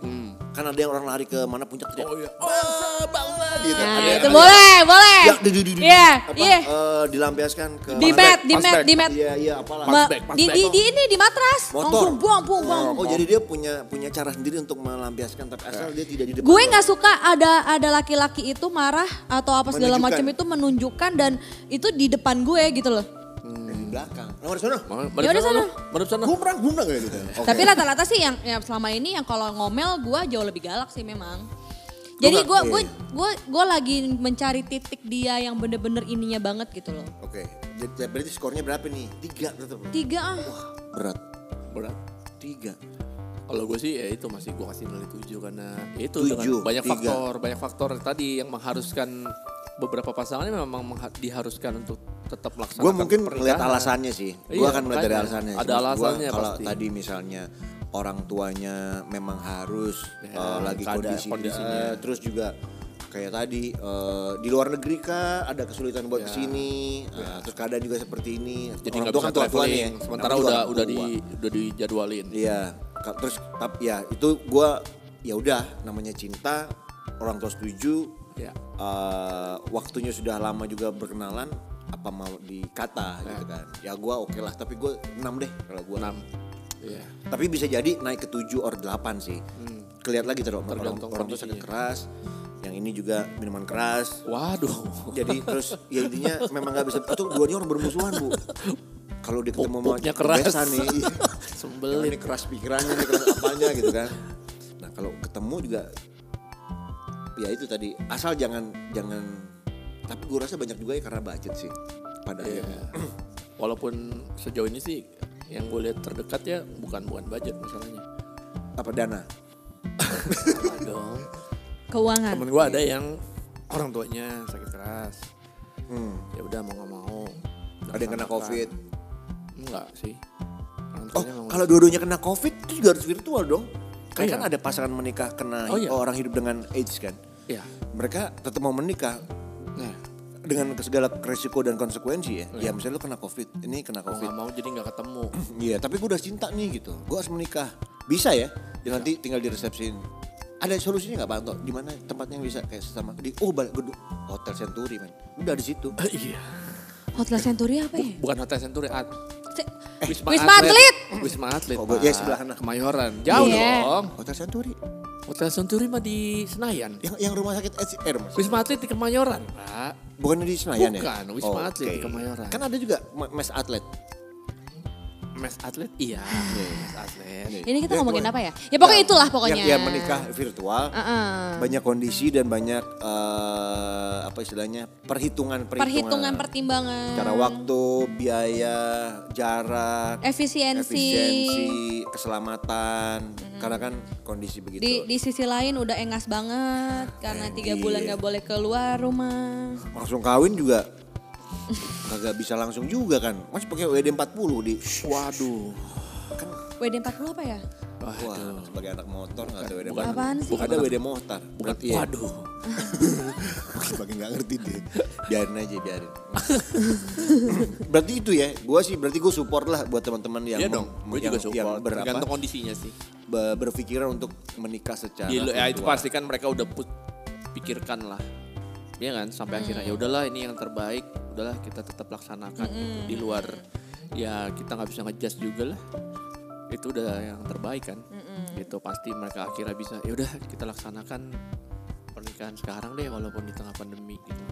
Speaker 2: Kan ada yang orang lari ke mana puncak
Speaker 1: Hmm.
Speaker 2: teriak.
Speaker 1: oh iya. Oh, banget.
Speaker 2: Gitu.
Speaker 3: Nah,
Speaker 2: Ada-
Speaker 3: itu
Speaker 2: ada-
Speaker 3: boleh, boleh.
Speaker 2: Ya, di, di, di, di-
Speaker 3: Iya,
Speaker 2: apa,
Speaker 3: iya.
Speaker 2: eh, dilampiaskan ke
Speaker 3: Di
Speaker 1: Fast
Speaker 3: mat,
Speaker 1: back,
Speaker 3: di
Speaker 1: fast
Speaker 3: mat,
Speaker 1: back.
Speaker 3: di mat.
Speaker 2: Iya, iya, apalah.
Speaker 3: Ma-
Speaker 1: Fast back, fast
Speaker 3: Di,
Speaker 1: back.
Speaker 3: di, di ini di matras.
Speaker 2: Motor.
Speaker 3: Langsung buang, buang, buang.
Speaker 2: Oh, jadi dia punya punya cara sendiri untuk melampiaskan tapi asal dia tidak di depan.
Speaker 3: Gue nggak suka ada ada laki-laki itu marah atau apa segala
Speaker 2: Menunjukkan.
Speaker 3: macam itu menunjukkan dan itu di depan gue gitu loh.
Speaker 2: di belakang. Nomor sana.
Speaker 1: Mana
Speaker 3: Yaudah,
Speaker 1: sana?
Speaker 3: sana.
Speaker 1: lu? Mana sana?
Speaker 2: Gumrang gumrang kayak gitu. Oke.
Speaker 3: Tapi rata-rata sih yang, yang selama ini yang kalau ngomel gue jauh lebih galak sih memang. Jadi
Speaker 2: nggak- iya,
Speaker 3: gue gue
Speaker 2: iya.
Speaker 3: gue gue lagi mencari titik dia yang bener-bener ininya banget gitu loh.
Speaker 2: Oke. Jadi berarti skornya berapa nih? Tiga tetap.
Speaker 3: Tiga ah.
Speaker 2: Berat.
Speaker 1: Berat.
Speaker 2: Tiga.
Speaker 1: Kalau gue sih ya itu masih gue kasih nilai 7 karena ya itu dengan
Speaker 2: Tujuh,
Speaker 1: banyak
Speaker 2: tiga.
Speaker 1: faktor, banyak faktor tadi yang mengharuskan beberapa pasangan ini memang mengha- diharuskan untuk tetap melaksanakan
Speaker 2: Gue mungkin
Speaker 1: pernikahan.
Speaker 2: melihat alasannya sih. Gue
Speaker 1: Iya,
Speaker 2: akan melihat dari
Speaker 1: makanya.
Speaker 2: alasannya.
Speaker 1: Ada
Speaker 2: Maksud gua,
Speaker 1: alasannya
Speaker 2: Kalau
Speaker 1: pasti.
Speaker 2: tadi misalnya orang tuanya memang harus
Speaker 1: Ya,
Speaker 2: eh, lagi
Speaker 1: keadaan-
Speaker 2: kondisi
Speaker 1: kondisinya.
Speaker 2: eh, terus juga kayak tadi eh, di luar negeri kah ada kesulitan buat kesini eh, terus keadaan juga seperti ini.
Speaker 1: Ya. Jadi
Speaker 2: Orang
Speaker 1: nggak
Speaker 2: tua
Speaker 1: bisa
Speaker 2: kan tua-tua nih
Speaker 1: traveling.
Speaker 2: ya.
Speaker 1: Sementara
Speaker 2: Namanya juga
Speaker 1: udah
Speaker 2: orang
Speaker 1: udah di
Speaker 2: tua.
Speaker 1: udah dijadwalin.
Speaker 2: Iya, ka- terus tapi ya itu gua ya udah namanya cinta orang tua setuju.
Speaker 1: Iya.
Speaker 2: eh, waktunya sudah lama juga berkenalan apa mau dikata gitu
Speaker 1: Iya.
Speaker 2: kan. Ya gua oke lah tapi gue 6 deh kalau gua.
Speaker 1: 6. Iya.
Speaker 2: Tapi bisa jadi naik ke 7 or 8 sih. Kelihat lagi terus orang,
Speaker 1: Hmm. Tergantung
Speaker 2: orang tua
Speaker 1: kondisinya.
Speaker 2: sakit keras, yang ini juga minuman
Speaker 1: <laughs>
Speaker 2: keras. <laughs>
Speaker 1: Waduh.
Speaker 2: Jadi terus ya intinya memang nggak bisa itu duanya orang bermusuhan, Bu. Kalau dia ketemu sama
Speaker 1: Pupuknya keras.
Speaker 2: kebesan nih.
Speaker 1: <laughs>
Speaker 2: iya. Yang
Speaker 1: Sembelin.
Speaker 2: ini keras pikirannya, ini keras apanya gitu kan. Nah kalau ketemu juga ya itu tadi asal jangan jangan tapi gue rasa banyak juga ya karena budget sih pada
Speaker 1: Iya.
Speaker 2: akhirnya.
Speaker 1: Walaupun sejauh ini sih yang gue lihat terdekat ya bukan bukan budget masalahnya.
Speaker 2: apa dana
Speaker 1: Dong.
Speaker 3: Keuangan.
Speaker 1: Temen gue ada yang orang tuanya sakit keras. Ya udah mau nggak mau.
Speaker 2: Hmm. ada yang kena covid
Speaker 1: Enggak sih. Orang
Speaker 2: oh
Speaker 1: tuanya mau-
Speaker 2: kalau dua-duanya kena covid itu juga harus virtual dong
Speaker 1: Oh,
Speaker 2: kayak
Speaker 1: iya.
Speaker 2: kan ada pasangan menikah kena
Speaker 1: Oh, iya.
Speaker 2: orang hidup dengan AIDS kan
Speaker 1: Iya.
Speaker 2: mereka tetap mau menikah
Speaker 1: Nah,
Speaker 2: dengan segala resiko dan konsekuensi ya.
Speaker 1: Oh,
Speaker 2: Ya
Speaker 1: iya.
Speaker 2: misalnya lu kena covid, ini kena
Speaker 1: Mau
Speaker 2: covid.
Speaker 1: nggak mau jadi nggak
Speaker 2: <laughs>
Speaker 1: ketemu.
Speaker 2: Iya, tapi gue udah cinta nih gitu. Gue harus menikah. Bisa ya? Ya nanti tinggal diresepsiin. Ada solusinya nggak Pak Anto? Di mana tempatnya yang bisa kayak sama di oh balik gedung Hotel Century men. Udah di situ.
Speaker 1: iya.
Speaker 3: Hotel Century apa ya?
Speaker 1: Bukan Hotel Century, At.
Speaker 3: Se- Wisma
Speaker 1: Wisma
Speaker 3: Atlet.
Speaker 1: Atlet. Wisma Atlet.
Speaker 2: Eh, Oh, bu-
Speaker 1: Pak.
Speaker 2: ya, sebelah sana.
Speaker 1: Kemayoran. Jauh
Speaker 3: Iya.
Speaker 1: dong.
Speaker 2: Hotel Century.
Speaker 1: Hotel Century mah di Senayan.
Speaker 2: Yang yang rumah sakit eh, si- eh, rumah sakit.
Speaker 1: Wisma Atlet di Kemayoran, Pak.
Speaker 2: Bukan di Senayan ya?
Speaker 1: Bukan, Wisma Atlet di
Speaker 2: oke.
Speaker 1: Kemayoran.
Speaker 2: Kan ada juga ma- mes atlet.
Speaker 1: Mes Atlet? Iya, Mes Atlet.
Speaker 3: Ini
Speaker 2: Ya,
Speaker 3: kita ngomongin
Speaker 2: cuman-
Speaker 3: apa ya? Ya pokoknya
Speaker 2: Yang-
Speaker 3: itulah pokoknya.
Speaker 2: Yang, yang menikah virtual.
Speaker 3: Heeh.
Speaker 2: Banyak kondisi dan banyak eh, apa istilahnya perhitungan-perhitungan.
Speaker 3: Perhitungan pertimbangan.
Speaker 2: Cara waktu, biaya,
Speaker 3: Eh,
Speaker 2: jarak,
Speaker 3: Efisiensi.
Speaker 2: efisiensi, keselamatan. Karena kan kondisi begitu.
Speaker 1: Gitu.
Speaker 3: Di, di sisi lain udah engas banget karena tiga bulan gak boleh keluar rumah.
Speaker 2: Langsung kawin juga kagak bisa langsung juga kan. Masih pakai WD 40 di
Speaker 1: Waduh.
Speaker 3: WD 40 apa ya?
Speaker 2: Wah, sebagai anak motor nggak ada WD
Speaker 1: bukan-
Speaker 2: motor.
Speaker 3: Apaan sih?
Speaker 2: Bukan ada WD motor.
Speaker 1: Bukan,
Speaker 2: Berarti ya,
Speaker 1: waduh.
Speaker 2: <laughs> Makin gak ngerti deh. Biarin aja, biarin. <laughs> berarti itu ya, gua sih berarti gue support lah buat teman-teman yang
Speaker 1: Iya
Speaker 2: mau-
Speaker 1: dong, gue
Speaker 2: yang,
Speaker 1: juga support.
Speaker 2: yang berapa,
Speaker 1: Tergantung kondisinya sih.
Speaker 2: be- berpikiran untuk menikah secara
Speaker 1: Iya, lo- ya itu
Speaker 2: virtual.
Speaker 1: pasti kan mereka udah put, pikirkan lah. Iya kan sampai
Speaker 3: Hmm.
Speaker 1: akhirnya ya udahlah ini yang terbaik, udahlah kita tetap laksanakan gitu.
Speaker 3: Hmm.
Speaker 1: di luar ya kita nggak bisa ngejudge juga lah. Itu udah yang terbaik kan.
Speaker 3: Hmm.
Speaker 1: Gitu pasti mereka akhirnya bisa ya udah kita laksanakan pernikahan sekarang deh walaupun di tengah pandemi gitu.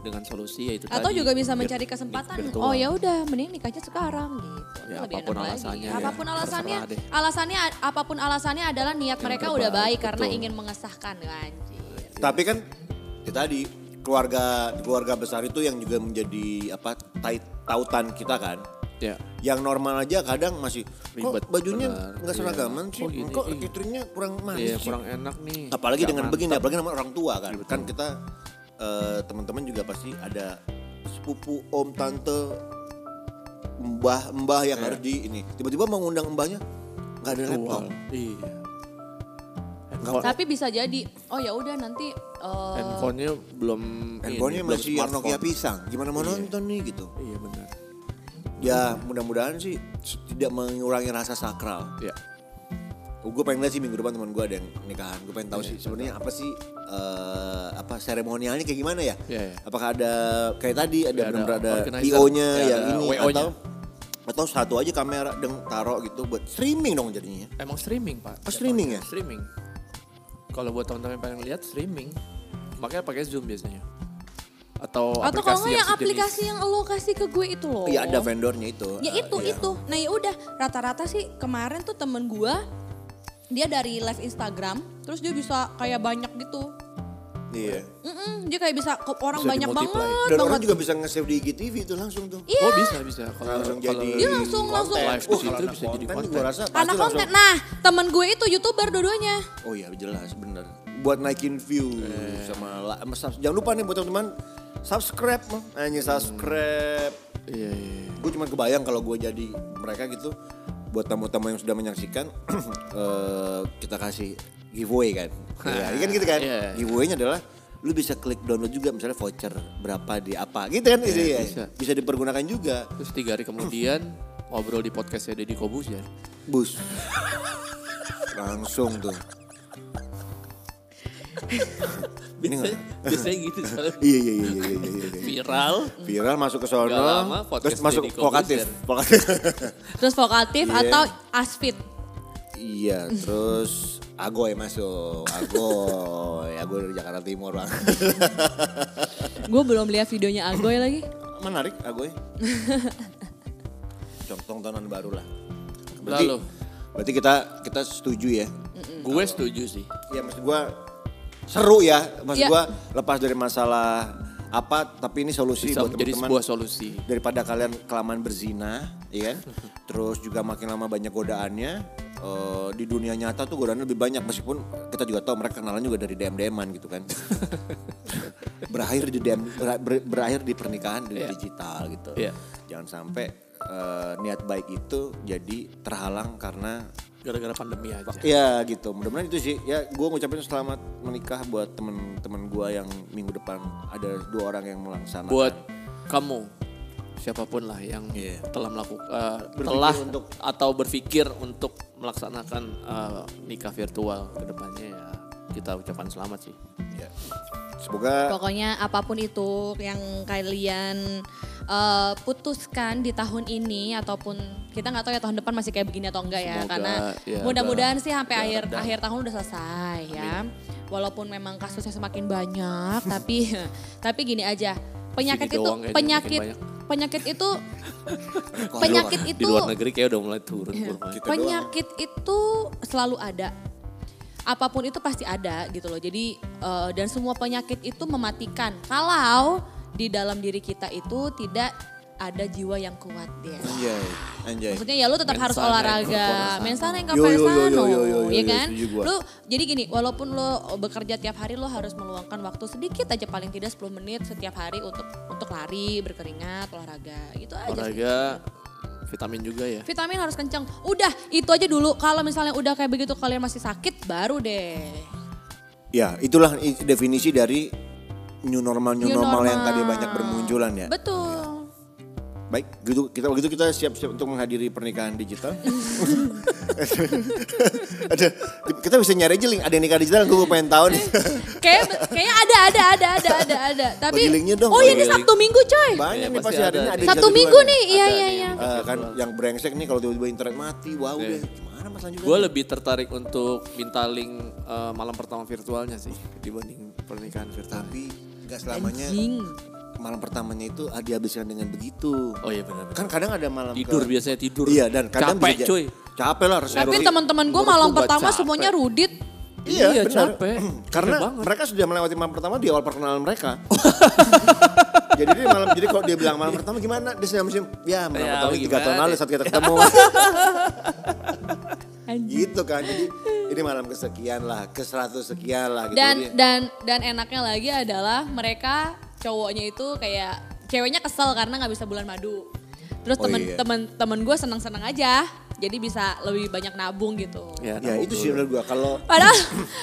Speaker 1: Dengan solusi ya itu
Speaker 3: Hmm. Atau
Speaker 1: tadi,
Speaker 3: juga bisa
Speaker 1: vir-
Speaker 3: mencari kesempatan.
Speaker 1: virtual.
Speaker 3: Oh ya udah, mending nikahnya sekarang
Speaker 1: Ya,
Speaker 3: gitu. Lebih
Speaker 1: apapun
Speaker 3: enak lagi.
Speaker 1: alasannya ya.
Speaker 3: Apapun alasannya,
Speaker 1: Terserah deh.
Speaker 3: alasannya apapun alasannya adalah niat mereka udah
Speaker 1: terbaik,
Speaker 3: baik karena
Speaker 1: betul.
Speaker 3: ingin mengesahkan anjir.
Speaker 2: Tapi kan ya tadi keluarga keluarga besar itu yang juga menjadi apa tai- tautan kita kan.
Speaker 1: ya.
Speaker 2: Yang normal aja kadang masih
Speaker 1: Ribet,
Speaker 2: kok bajunya
Speaker 1: benar.
Speaker 2: nggak
Speaker 1: Iya.
Speaker 2: seragaman sih,
Speaker 1: Kok gini,
Speaker 2: kok
Speaker 1: iya.
Speaker 2: istrinya kurang manis
Speaker 1: Iya,
Speaker 2: sih?
Speaker 1: kurang enak nih.
Speaker 2: apalagi
Speaker 1: Nggak
Speaker 2: dengan
Speaker 1: mantap. Iya,
Speaker 2: begini apalagi sama orang tua kan kan kita eh, teman-teman juga pasti ada sepupu om tante mbah mbah
Speaker 1: Iya.
Speaker 2: yang harus di ini tiba-tiba mengundang mbahnya nggak ada laptop
Speaker 1: Iya.
Speaker 2: Nggak-
Speaker 3: Tapi bisa jadi, oh ya udah nanti eh,
Speaker 1: Handphonenya belum
Speaker 2: handphonenya
Speaker 1: ini, belum
Speaker 2: masih yang Nokia
Speaker 1: smartphone.
Speaker 2: pisang gimana mau nonton nih gitu
Speaker 1: Iya benar.
Speaker 2: ya mudah-mudahan sih tidak mengurangi rasa sakral
Speaker 1: Iya.
Speaker 2: gue pengen lihat sih minggu depan teman gue ada yang nikahan gue pengen
Speaker 1: Iya,
Speaker 2: tahu sih sebenarnya apa sih eh, apa seremonialnya kayak gimana ya
Speaker 1: Iya, iya.
Speaker 2: apakah ada kayak tadi ada
Speaker 1: Iya, ada
Speaker 2: benar ada
Speaker 1: organizer,
Speaker 2: io
Speaker 1: iya,
Speaker 2: nya yang
Speaker 1: ada
Speaker 2: ini
Speaker 1: WO -nya.
Speaker 2: atau atau satu aja kamera deng taruh gitu buat streaming dong jadinya
Speaker 1: Emang streaming pak?
Speaker 2: Oh, streaming ya?
Speaker 1: Streaming. Kalau buat teman-teman yang pengen lihat streaming, makanya pakai zoom biasanya. Atau,
Speaker 3: atau kalau nggak yang
Speaker 1: oh, sejenis.
Speaker 3: aplikasi yang lo kasih ke gue itu loh.
Speaker 2: iya ada vendornya itu
Speaker 3: Oh. Ya
Speaker 2: Eh,
Speaker 3: itu
Speaker 2: iya.
Speaker 3: itu. Nah ya udah rata-rata sih kemarin tuh temen gua dia dari live Instagram terus dia bisa kayak banyak gitu.
Speaker 2: iya
Speaker 3: Mm-mm, dia kayak bisa ke orang
Speaker 1: Bisa
Speaker 3: banyak banget,
Speaker 1: dimultiply.
Speaker 2: dan
Speaker 3: banget.
Speaker 2: orang juga bisa nge-save di IGTV itu langsung tuh
Speaker 3: Iya.
Speaker 1: Oh bisa bisa. Kalau
Speaker 2: langsung
Speaker 1: kalau
Speaker 2: jadi
Speaker 3: Dia langsung- langsung.
Speaker 1: live di
Speaker 2: Wah,
Speaker 1: situ
Speaker 2: kalau anak
Speaker 1: bisa jadi konten.
Speaker 2: gua rasa pasti
Speaker 3: Anak
Speaker 2: langsung
Speaker 3: konten. Nah, temen gue itu YouTuber dua-duanya.
Speaker 2: Oh iya jelas bener. Buat naikin view
Speaker 1: Eh.
Speaker 2: sama, la- sama subs- jangan lupa nih buat teman-teman subscribe mah. Hanya subscribe.
Speaker 1: Iya iya. iya.
Speaker 2: Gue cuma kebayang kalau gue jadi mereka gitu buat tamu-tamu yang sudah menyaksikan <clears throat> eh, kita kasih giveaway
Speaker 1: <laughs>
Speaker 2: kan. Iya, ini kan gitu kan.
Speaker 1: Iya.
Speaker 2: Giveaway-nya adalah lu bisa klik download juga misalnya voucher berapa di apa gitu kan isinya.
Speaker 1: Iya, bisa.
Speaker 2: bisa dipergunakan juga
Speaker 1: Terus tiga hari kemudian ngobrol di podcastnya Deddy Kobus ya.
Speaker 2: bus <laughs> langsung tuh Ini nggak-
Speaker 1: biasanya gitu soalnya
Speaker 2: iya iya iya iya iya, iya, iya.
Speaker 1: viral.
Speaker 2: viral masuk ke sono
Speaker 1: Gak lama, podcast
Speaker 2: terus masuk
Speaker 1: Deddy
Speaker 2: vokatif
Speaker 1: Corbuzier.
Speaker 2: vokatif
Speaker 3: Terus vokatif
Speaker 2: Iya.
Speaker 3: atau asfit.
Speaker 2: <laughs> iya terus Agoy masuk <laughs> Agoy Agoy dari Jakarta Timur bang
Speaker 3: Gue belum lihat videonya Agoy lagi.
Speaker 2: menarik <laughs> Agoy contoh tontonan baru lah berarti
Speaker 1: Lalu.
Speaker 2: berarti kita kita setuju ya
Speaker 1: Gue setuju sih.
Speaker 2: ya maksud gua seru ya maksud
Speaker 3: Iya.
Speaker 2: gua lepas dari masalah apa tapi ini solusi
Speaker 1: Bisa
Speaker 2: buat
Speaker 1: menjadi
Speaker 2: teman-teman
Speaker 1: sebuah solusi.
Speaker 2: daripada kalian kelamaan berzina, ya kan? <laughs> Terus juga makin lama banyak godaannya. eh, di dunia nyata tuh godaannya lebih banyak meskipun kita juga tahu mereka kenalan juga dari DM DM-an gitu kan. <laughs> berakhir di DM ber- ber- berakhir di pernikahan di
Speaker 1: Iya.
Speaker 2: digital gitu.
Speaker 1: Iya.
Speaker 2: Jangan sampai eh, niat baik itu jadi terhalang karena
Speaker 1: gara-gara pandemi aja.
Speaker 2: Ya gitu, mudah-mudahan itu sih. Ya gue ngucapin selamat menikah buat temen-temen gue yang minggu depan ada dua orang yang melaksanakan.
Speaker 1: Buat kamu siapapun lah yang
Speaker 2: Iya.
Speaker 1: telah melakukan eh, telah
Speaker 2: untuk-
Speaker 1: atau berpikir untuk melaksanakan eh, nikah virtual kedepannya ya kita ucapkan selamat sih.
Speaker 2: Ya. Semoga
Speaker 3: Pokoknya apapun itu yang kalian eh, putuskan di tahun ini ataupun kita nggak tahu ya tahun depan masih kayak begini atau enggak ya
Speaker 1: Semoga,
Speaker 3: karena
Speaker 1: ya,
Speaker 3: mudah-mudahan
Speaker 1: udah-
Speaker 3: sih sampai
Speaker 1: udah
Speaker 3: akhir
Speaker 1: reda.
Speaker 3: akhir tahun udah selesai ya. Walaupun memang kasusnya semakin banyak tapi <laughs> tapi gini aja penyakit
Speaker 1: Sini
Speaker 3: itu
Speaker 1: doang kayaknya
Speaker 3: penyakit
Speaker 1: makin
Speaker 3: penyakit itu
Speaker 2: Kok
Speaker 3: penyakit
Speaker 1: Di
Speaker 3: itu Iya.
Speaker 1: luar negeri kayak udah mulai turun kurvanya.
Speaker 2: Kita Gitu doang.
Speaker 3: penyakit itu selalu ada. Apapun itu pasti ada gitu loh. Jadi eh, dan semua penyakit itu mematikan. Kalau di dalam diri kita itu tidak ada jiwa yang kuat ya.
Speaker 2: anjay, Iya, anjay.
Speaker 3: Maksudnya ya lu tetap harus
Speaker 1: Mensana
Speaker 3: olahraga,
Speaker 1: yang
Speaker 3: mensana yang
Speaker 2: Yo, yo, yo,
Speaker 3: kapresano,
Speaker 2: yo, yo, yo, yo,
Speaker 3: ya
Speaker 2: yo,
Speaker 3: kan?
Speaker 2: setuju gua.
Speaker 3: Lu jadi gini, walaupun lu bekerja tiap hari lu harus meluangkan waktu sedikit aja paling tidak 10 menit setiap hari untuk untuk lari, berkeringat, olahraga. Gitu aja. sih.
Speaker 1: Olahraga vitamin juga ya.
Speaker 3: Vitamin harus kencang. Udah, itu aja dulu. Kalau misalnya udah kayak begitu kalian masih sakit, baru deh.
Speaker 2: Ya itulah i- definisi dari new normal new,
Speaker 3: New
Speaker 2: normal, yang
Speaker 3: normal.
Speaker 2: tadi banyak bermunculan ya.
Speaker 3: Betul.
Speaker 2: Baik, gitu kita begitu kita siap-siap untuk menghadiri pernikahan
Speaker 3: <laughs>
Speaker 2: digital. ada kita bisa nyari aja link ada yang nikah digital gue pengen tahu
Speaker 3: <laughs>
Speaker 2: nih.
Speaker 3: Kayak kayaknya ada ada ada ada ada ada. Tapi
Speaker 2: Bagi linknya dong,
Speaker 3: Oh,
Speaker 2: bagi
Speaker 3: ini
Speaker 1: link.
Speaker 3: Sabtu Minggu, coy.
Speaker 2: Banyak
Speaker 1: Iya,
Speaker 2: nih
Speaker 1: pasti
Speaker 2: pasti
Speaker 1: ada
Speaker 2: ada.
Speaker 1: nih.
Speaker 2: ada
Speaker 3: Satu
Speaker 2: digital
Speaker 3: minggu
Speaker 2: juga
Speaker 3: nih. Iya
Speaker 1: Ada
Speaker 3: iya
Speaker 1: nih.
Speaker 3: iya.
Speaker 2: Eh, kan yang brengsek nih kalau tiba-tiba internet mati, wow
Speaker 1: Iya.
Speaker 2: deh. Gimana mas lanjutnya?
Speaker 1: Gue lebih tertarik untuk minta link eh, malam pertama virtualnya sih dibanding pernikahan virtual.
Speaker 2: tapi nggak selamanya
Speaker 3: Anjing.
Speaker 2: malam pertamanya itu ah, dihabiskan dengan begitu.
Speaker 1: Oh iya benar.
Speaker 2: Kan kadang ada malam ke-
Speaker 1: Tidur biasanya tidur.
Speaker 2: Iya dan kadang
Speaker 1: capek
Speaker 2: bisa ja-
Speaker 1: cuy.
Speaker 2: Capek lah harus
Speaker 3: Tapi
Speaker 2: erosi.
Speaker 3: teman-teman gue
Speaker 1: menurut
Speaker 3: malam
Speaker 1: gua
Speaker 3: pertama
Speaker 1: capek.
Speaker 3: semuanya rudit.
Speaker 2: Iya,
Speaker 1: Iya,
Speaker 2: benar.
Speaker 1: capek.
Speaker 2: Karena
Speaker 1: Capek banget.
Speaker 2: mereka sudah melewati malam pertama di awal perkenalan
Speaker 1: <laughs>
Speaker 2: mereka. jadi dia malam jadi kalau dia bilang malam pertama gimana? Dia sudah musim ya malam
Speaker 1: Ya,
Speaker 2: pertama tiga
Speaker 1: gimana
Speaker 2: tahun lalu
Speaker 1: deh.
Speaker 2: saat kita
Speaker 1: <laughs>
Speaker 2: ketemu. gitu kan. Jadi ini malam kesekian lah, ke seratus sekian lah gitu.
Speaker 3: Dan
Speaker 2: Jadi,
Speaker 3: dan dan enaknya lagi adalah mereka cowoknya itu kayak ceweknya kesel karena nggak bisa bulan madu. Terus
Speaker 2: Oh,
Speaker 3: temen
Speaker 2: iya.
Speaker 3: temen temen gue seneng-seneng aja. Jadi bisa lebih banyak nabung gitu.
Speaker 1: nah,
Speaker 2: ya itu sih menurut gua kalau <laughs>
Speaker 3: Padahal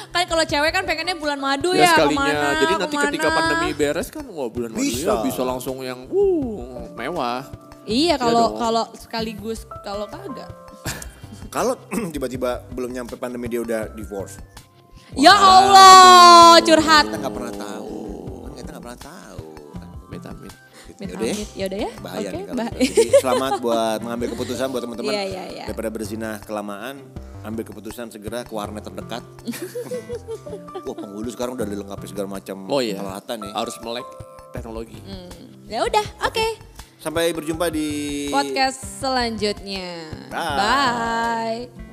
Speaker 3: kan kalau cewek kan pengennya bulan madu
Speaker 1: Ya,
Speaker 3: ya,
Speaker 1: sekalinya.
Speaker 3: kemana,
Speaker 1: Jadi nanti
Speaker 3: kemana.
Speaker 1: ketika pandemi beres kan wah bulan
Speaker 2: Bisa.
Speaker 1: madunya bisa langsung yang wuh mewah.
Speaker 2: ya
Speaker 3: Iya
Speaker 1: dong.
Speaker 3: kalau kalau sekaligus kalau kagak.
Speaker 2: kalau <clears throat> tiba-tiba belum nyampe pandemi dia udah divorce.
Speaker 3: Ya Allah, curhat.
Speaker 2: Kita nggak
Speaker 1: Oh.
Speaker 2: pernah tahu. Kan Kita nggak pernah tahu.
Speaker 1: Metamin.
Speaker 2: Gitu.
Speaker 3: Amit
Speaker 2: Yaudah ya.
Speaker 3: amit, yaudah ya.
Speaker 2: bahaya
Speaker 3: Oke,
Speaker 2: nih kalau
Speaker 3: bah-
Speaker 2: gitu. Jadi selamat buat mengambil keputusan buat teman-teman
Speaker 3: Iya, iya, iya.
Speaker 2: daripada berzina kelamaan ambil keputusan segera ke warnet terdekat
Speaker 3: <laughs>
Speaker 2: wah penghulu sekarang udah dilengkapi segala macam
Speaker 1: Oh iya.
Speaker 2: peralatan ya
Speaker 1: Harus melek teknologi.
Speaker 3: <laughs> ya udah, oke.
Speaker 2: sampai berjumpa di
Speaker 3: Podcast selanjutnya.
Speaker 2: Bye.
Speaker 3: Bye.